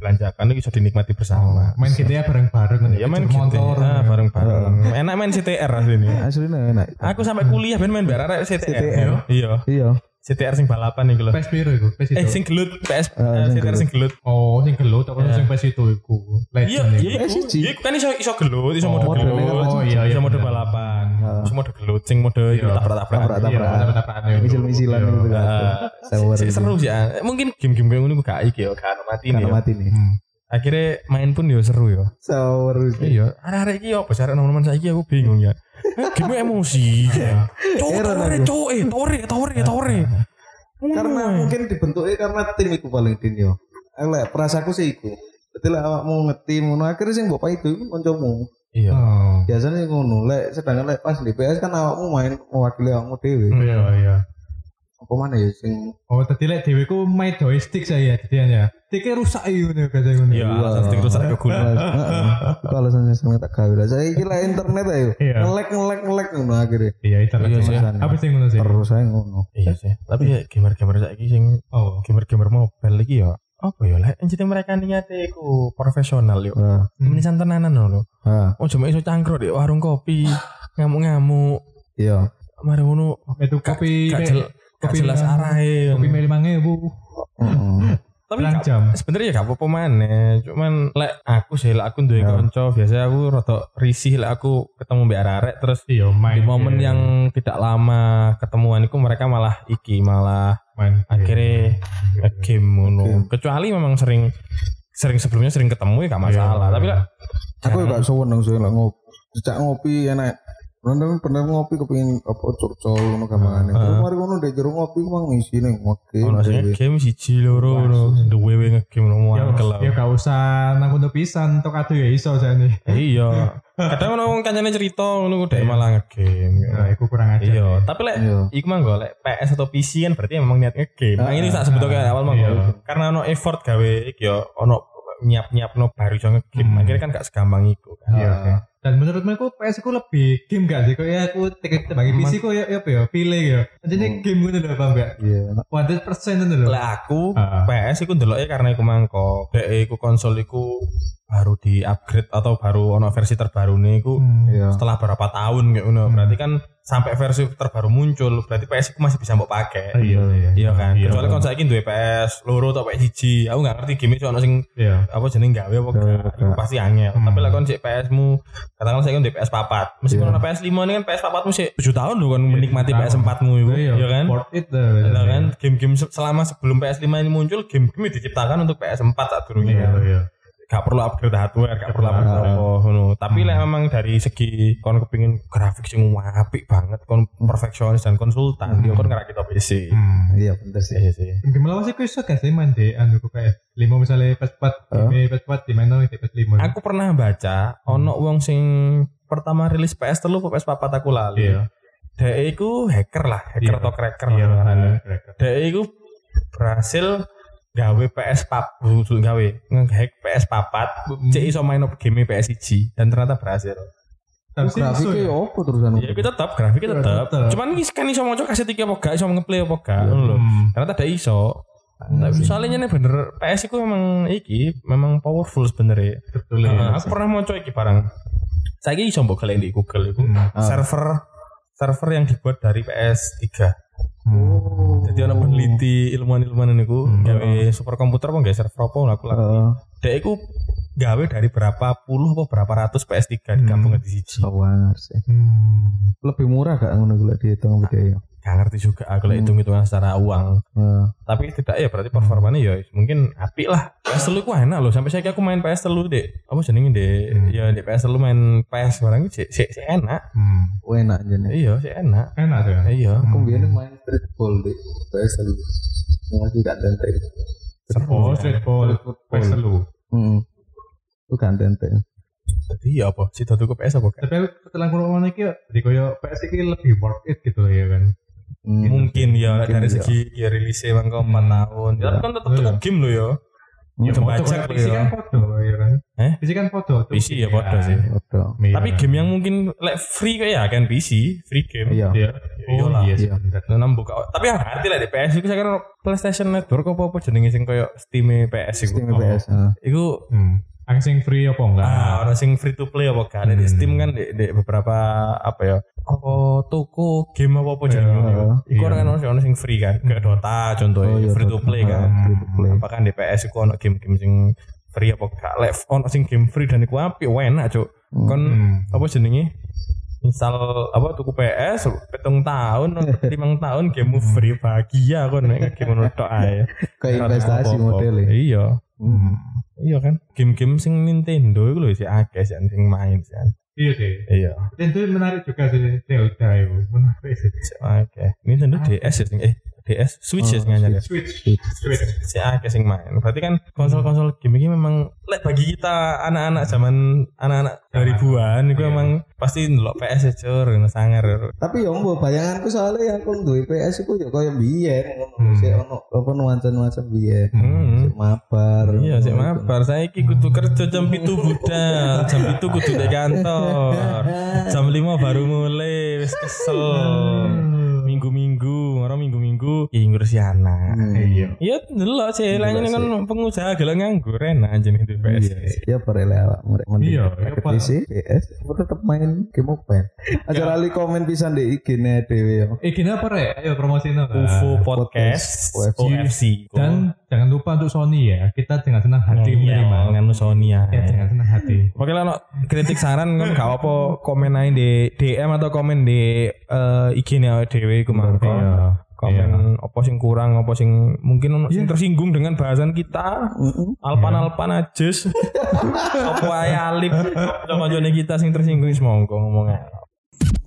Speaker 1: dibelanjakan itu iso dinikmati bersama.
Speaker 3: Main GTA bareng-bareng
Speaker 1: Ya main gitu.
Speaker 3: motor.
Speaker 1: Ah, bareng-bareng. Enak main CTR asline.
Speaker 2: Aslinya enak.
Speaker 1: Aku sampai kuliah ben main bareng arek CTR.
Speaker 2: CTR.
Speaker 1: Iya.
Speaker 2: Iya.
Speaker 1: CTR sing balapan iku lho.
Speaker 3: PS piro iku? PS
Speaker 1: Eh
Speaker 3: itu.
Speaker 1: sing gelut PS
Speaker 2: Ah,
Speaker 1: eh,
Speaker 2: sing
Speaker 1: CTR sing gelut.
Speaker 3: Oh, sing gelut apa
Speaker 1: Iya.
Speaker 3: sing PS itu iku?
Speaker 1: Iya,
Speaker 3: Legend iku.
Speaker 1: iya iku.
Speaker 2: SG.
Speaker 1: Iya iku kan iso iso gelut, iso
Speaker 3: Oh,
Speaker 1: mode
Speaker 2: modelnya
Speaker 1: gelut.
Speaker 2: kan
Speaker 1: iya,
Speaker 3: macam-
Speaker 1: iso mode
Speaker 3: iya.
Speaker 1: balapan.
Speaker 2: Ah.
Speaker 1: Iso mode gelut sing mode ya,
Speaker 3: Iya.
Speaker 1: tabrak-tabrakan.
Speaker 2: Tabrak-tabrakan.
Speaker 3: Iya, tabrak-tabrakan itu.
Speaker 2: Misil-misilan
Speaker 3: Iya.
Speaker 2: gitu kan.
Speaker 1: Heeh.
Speaker 2: Sewer
Speaker 1: Si-
Speaker 2: gitu.
Speaker 1: Ah, seru sih ah. mungkin game-game kayak ngono iku gak iki ya gak ono mati
Speaker 2: Karena
Speaker 1: ya
Speaker 2: mati nih.
Speaker 3: Hmm.
Speaker 1: akhirnya main pun ya seru ya
Speaker 2: Sewer sih.
Speaker 1: iya arek-arek iki ya besar nomor-nomor saiki aku bingung ya Eh, game emosi ya Cuk,
Speaker 2: Heran
Speaker 1: tore
Speaker 2: aku.
Speaker 1: cuk eh tore tore tore
Speaker 2: Karena mungkin dibentuknya karena tim iku paling din yo. Eh, Lek perasaku sih iku. Berarti lah awakmu ngetim ngono akhirnya sing bapak itu iku kancamu.
Speaker 1: iya
Speaker 3: Oh.
Speaker 2: Biasanya ngono. Lek sedangkan lek pas di PS kan awakmu main mewakili awakmu dhewe.
Speaker 1: Hmm.
Speaker 3: Iya, iya.
Speaker 2: Apa mana ya sing
Speaker 3: Oh, tadi lek dhewe ku main joystick saya tadian ya. Tike rusak iki ngono kata ngono.
Speaker 1: Iya, alasan sing rusak ke gula.
Speaker 2: Heeh. Itu alasannya sing tak gawe. Lah saya iki lah internet ayo.
Speaker 3: Iya.
Speaker 2: Ngelek ngelek ngelek ngono akhirnya.
Speaker 3: Iya, itu
Speaker 1: Iya,
Speaker 3: rusak.
Speaker 2: iya.
Speaker 3: Apa sing ngono sih?
Speaker 2: Terus saya ngono.
Speaker 1: Iya sih. Tapi ya gamer-gamer saiki sing
Speaker 3: Oh.
Speaker 1: gamer-gamer mobile iki ya apa ya lek jadi mereka niate iku profesional yo.
Speaker 2: Heeh.
Speaker 1: Menisan tenanan lho.
Speaker 2: Heeh.
Speaker 1: Oh cuma iso cangkruk di warung kopi, ngamuk-ngamuk.
Speaker 2: Iya.
Speaker 1: Mari ngono
Speaker 3: Itu kopi
Speaker 1: gak jel- gak
Speaker 3: kopi
Speaker 1: jelas
Speaker 3: merah.
Speaker 1: arahe.
Speaker 3: kopi meli mange Bu.
Speaker 2: Heeh.
Speaker 1: Tapi
Speaker 3: Pirang
Speaker 1: gak-
Speaker 3: jam.
Speaker 1: sebenarnya ya gak apa-apa maneh. Cuman lek aku sih lek aku duwe
Speaker 2: Ya.
Speaker 1: kanca, biasanya aku rada risih lek aku ketemu mbek arek terus
Speaker 3: Iya,
Speaker 1: di
Speaker 3: main.
Speaker 1: momen yang tidak lama ketemuan itu mereka malah iki malah
Speaker 3: main. Iya,
Speaker 1: akhirnya game ngono. Kecuali memang sering sering sebelumnya sering ketemu ya gak masalah.
Speaker 3: Iya.
Speaker 1: Tapi lah
Speaker 2: Aku gak seneng sih lek ngopi. Sejak ngopi enak. Nonton bener ngopi kepengin apa curcol ngono gampangane. Terus mari ngono ndek jero ngopi mang ngisi ning ngopi.
Speaker 1: ono
Speaker 3: gitu.
Speaker 1: sing game siji loro ngono, duwe we ngegame nomo
Speaker 3: Ya,
Speaker 1: angkel.
Speaker 3: ya gak usah nang kono pisan, tok adu ya iso jane.
Speaker 1: Iya. Kadang ono wong kancane cerita ngono udah malah
Speaker 3: Nah,
Speaker 1: ngegame.
Speaker 3: iku kurang aja.
Speaker 1: Iya, tapi lek
Speaker 2: Iya.
Speaker 1: Iku mah gue lek PS atau PC kan berarti emang niat ngegame.
Speaker 3: Ah,
Speaker 1: Nah, ini tak sebut kayak awal mah
Speaker 3: Iya.
Speaker 1: Karena ono effort gawe iki yo ono nyiap-nyiap no baru iso ngegame.
Speaker 3: Hmm.
Speaker 1: Akhirnya kan gak segampang iku kan.
Speaker 2: Ah,
Speaker 3: Iya. oke. Dan menurutmu aku PS aku lebih game gak sih? Kayak aku tiket bagi PC kok ya apa ya? Pilih ya. Jadi
Speaker 2: Hmm.
Speaker 3: game gitu loh, paham gak?
Speaker 2: Iya.
Speaker 3: 100% itu loh.
Speaker 1: Lek aku
Speaker 3: Ah.
Speaker 1: PS iku ndeloknya karena iku mangko. Dek e iku konsol iku baru di upgrade atau baru ono versi terbaru nih iku
Speaker 3: Hmm.
Speaker 2: Iya.
Speaker 1: setelah berapa tahun kayak ngono.
Speaker 3: Hmm.
Speaker 1: Berarti kan sampai versi terbaru muncul, berarti PS iku masih bisa mbok pakai.
Speaker 3: Iya, iya.
Speaker 1: Iya kan.
Speaker 3: Iya.
Speaker 1: Kecuali kon saiki duwe PS loro tok PS siji. Aku gak ngerti game iki ono sing
Speaker 3: Iya.
Speaker 1: apa jeneng gawe apa
Speaker 2: Gawe
Speaker 1: gak,
Speaker 2: apa
Speaker 1: itu
Speaker 2: gak.
Speaker 1: pasti angel.
Speaker 3: Hmm.
Speaker 1: Tapi lah kon sik PS-mu, katakanlah saya kan di PS papat. Meskipun
Speaker 2: Iya.
Speaker 1: ono PS 5 ini kan PS papatmu sik 7 tahun lho kon
Speaker 3: Iya,
Speaker 1: menikmati
Speaker 3: tahun.
Speaker 1: PS 4-mu itu,
Speaker 3: Iya,
Speaker 1: ya kan?
Speaker 3: Port it loh.
Speaker 1: Lah kan game-game se- selama sebelum PS 5 ini muncul, game-game diciptakan untuk PS 4 saat
Speaker 3: Iya,
Speaker 1: durungnya.
Speaker 3: iya.
Speaker 1: gak perlu upgrade hardware, gak perlu upgrade
Speaker 2: Nah.
Speaker 1: apa ngono. Tapi lek memang dari segi kon kepingin grafik sing apik banget, kon perfeksionis dan konsultan, yo kon ngerak kita PC.
Speaker 3: Hmm.
Speaker 2: iya bener sih
Speaker 1: Iya sih.
Speaker 3: Gimana sih kau iso gak sih main di anu kok kayak lima misalnya pas pat
Speaker 2: Huh?
Speaker 3: di pas pat di mana di pas lima.
Speaker 1: Aku pernah baca ono wong sing pertama rilis PS telu apa PS papat aku lali.
Speaker 3: Iya.
Speaker 1: Dek iku hacker lah, hacker
Speaker 3: Iya.
Speaker 1: atau cracker
Speaker 3: Iya.
Speaker 1: lah. ngarannya.
Speaker 3: keren.
Speaker 1: Dek iku berhasil gawe PS pap, bukan gawe ngehack PS papat,
Speaker 3: Hmm.
Speaker 1: cek iso main op- game PS1 dan ternyata berhasil.
Speaker 3: Tapi sih iso
Speaker 2: grafiknya
Speaker 3: ya.
Speaker 2: apa terusan
Speaker 1: Ya kita tetap grafiknya tetap.
Speaker 3: Tetap.
Speaker 1: Cuman ini kan iso moco kasih tiga apa gak iso ngeplay apa gak.
Speaker 2: Iya.
Speaker 1: ngono lho.
Speaker 3: Hmm.
Speaker 1: Ternyata ada iso. Iya. Soalnya ini bener PS itu memang iki memang powerful sebenarnya.
Speaker 3: Betul ya.
Speaker 1: Nah, aku pernah moco iki barang. Saya ini iso mbok kalian di Google itu
Speaker 3: Hmm.
Speaker 1: server server yang dibuat dari PS3.
Speaker 3: Hmm.
Speaker 1: Jadi ana peneliti ilmuwan-ilmuwan niku
Speaker 3: Hmm.
Speaker 1: gawe superkomputer apa nggak server apa aku lah.
Speaker 2: Eh,
Speaker 1: Dek iku gawe dari berapa puluh apa berapa ratus PS3 digabung di siji.
Speaker 2: apa ngar sih
Speaker 3: Hmm.
Speaker 2: lebih murah gak ngono gula dihitung apa dia ya
Speaker 1: Gak ngerti juga aku lek
Speaker 2: Hmm.
Speaker 1: hitung-hitungan secara uang.
Speaker 2: Eh,
Speaker 1: tapi tidak ya berarti performanya ya mungkin api lah PS telu ku enak loh sampai saya aku main PS telu dek apa jenengin dek
Speaker 3: Hmm.
Speaker 1: ya dek PS telu main PS barang itu sih sih enak
Speaker 3: Hmm.
Speaker 2: wah, oh, enak aja nih
Speaker 1: iya sih enak
Speaker 3: Enak tuh. ya.
Speaker 1: iya
Speaker 2: aku
Speaker 3: Hmm.
Speaker 2: biasanya main streetball deh PS lagi lagi gak tenteng
Speaker 3: Oh, streetball. Pes telu.
Speaker 2: hmm itu kan gak tenteng
Speaker 1: jadi iya apa sih tuh ke PS apa kan
Speaker 3: Tapi aku setelah kurang iki ya, jadi koyo PS iki lebih worth it gitu ya kan.
Speaker 2: Hmm.
Speaker 1: mungkin ya
Speaker 2: Mungkin
Speaker 1: dari
Speaker 2: iya.
Speaker 1: segi ya rilisnya bang kau empat tahun Ya, tapi kan tetap
Speaker 3: Iya.
Speaker 1: cukup game lo ya
Speaker 2: Ya,
Speaker 1: Coba
Speaker 3: Foto
Speaker 1: cek
Speaker 3: kan
Speaker 1: lo
Speaker 3: PC
Speaker 1: ya
Speaker 3: kan foto ya kan.
Speaker 1: Eh?
Speaker 3: PC kan foto. tuh.
Speaker 1: PC ya foto sih.
Speaker 2: Waduh.
Speaker 3: Iya.
Speaker 1: tapi game yang mungkin like free kayak ya kan PC free game
Speaker 2: iya
Speaker 3: Iya. Oh
Speaker 1: Iyalah.
Speaker 3: iya sih.
Speaker 2: Iya.
Speaker 3: bener.
Speaker 1: Enam buka, tapi yang hati lah di PS itu saya kira PlayStation Network apa apa jenenge sing koyo Steam PS itu.
Speaker 2: Steam PS ah.
Speaker 1: Iku
Speaker 3: Hmm. Aku sing free apa
Speaker 2: Nah.
Speaker 3: enggak?
Speaker 1: Ah, orang sing free to play apa kan di
Speaker 3: Hmm.
Speaker 1: Steam kan di, di beberapa apa ya? Apa toko game apa apa jenenge
Speaker 3: Iya.
Speaker 1: ngono. Iku
Speaker 3: Iya.
Speaker 1: orang kan orang orang sing free kan, kayak Dota contohnya
Speaker 2: Oh, iya,
Speaker 1: free to
Speaker 2: Dota.
Speaker 1: play kan.
Speaker 2: Ah, free to play.
Speaker 1: Apa kan di PS iku ono game-game sing free apa gak live ono sing game free dan iku apik wah, enak cuk.
Speaker 2: Hmm.
Speaker 1: Kon
Speaker 3: Hmm.
Speaker 1: apa jenenge? Misal apa tuku PS petung tahun, limang tahun game free bahagia kon nek game ngono tok ae.
Speaker 2: kayak
Speaker 1: Apa-apa.
Speaker 2: investasi ya. modelnya
Speaker 1: Iya.
Speaker 2: Hmm.
Speaker 1: Iya kan, game-game sing Nintendo itu loh sih akeh sih sing main sih.
Speaker 3: Iya sih.
Speaker 1: Iya,
Speaker 3: Dan itu menarik juga sih. Zelda itu menarik sih.
Speaker 1: sih akeh. Nintendo DS ya sing eh DS Switch ya
Speaker 2: Oh,
Speaker 1: sing anyar ya.
Speaker 3: Switch.
Speaker 2: Switch.
Speaker 3: Switch.
Speaker 1: Si akeh sing main. Berarti kan konsol-konsol game ini memang lek bagi kita anak-anak zaman anak-anak 2000-an itu
Speaker 3: Iya.
Speaker 1: emang pasti ndelok PS ya jur ngono sangar.
Speaker 2: tapi ya mbok bayanganku soalnya yang kon duwe PS iku ya koyo biyen
Speaker 1: Mm.
Speaker 3: Hmm.
Speaker 2: ngono sik ono apa nuansa-nuansa biyen
Speaker 1: Hmm.
Speaker 2: Sik mabar
Speaker 1: Iya, sik mabar. Saiki kudu kerja jam 7 budal, jam 7 kudu di
Speaker 2: Iya.
Speaker 1: kantor. Jam 5 baru mulai, wis kesel.
Speaker 3: Hmm.
Speaker 1: minggu-minggu orang minggu-minggu ya ngurusi anak
Speaker 2: Hmm.
Speaker 3: Iya.
Speaker 1: Iya dulu sih
Speaker 2: Iya
Speaker 1: lainnya
Speaker 2: sih.
Speaker 1: kan pengusaha gelap nganggur enak aja nih di PS
Speaker 2: Ya perela awak murek mending
Speaker 3: Iya,
Speaker 2: pakai
Speaker 3: iya, Pak.
Speaker 2: PC, PS, aku tetep main game open. Aja lali komen pisan di IG-ne dhewe ya.
Speaker 3: Eh gini apa Re? Ayo promosiin apa?
Speaker 1: UFO Podcast
Speaker 2: Podcast,
Speaker 1: OFC
Speaker 3: Dan jangan lupa untuk Sony ya. Kita dengan senang
Speaker 1: Iya.
Speaker 3: hati menerima.
Speaker 1: dengan Sony ya
Speaker 3: Ya dengan senang hati.
Speaker 1: Oke lah no, kritik saran kan gak apa komen aja di DM atau komen di eh, IG nya DW
Speaker 3: Iya.
Speaker 1: kemarin komen apa sing kurang apa sing mungkin ono sing
Speaker 3: Iya.
Speaker 1: tersinggung dengan bahasan kita Alpan Alpan aja Apa ae alip kanca-kancane kita sing tersinggung semongko ngomong ae.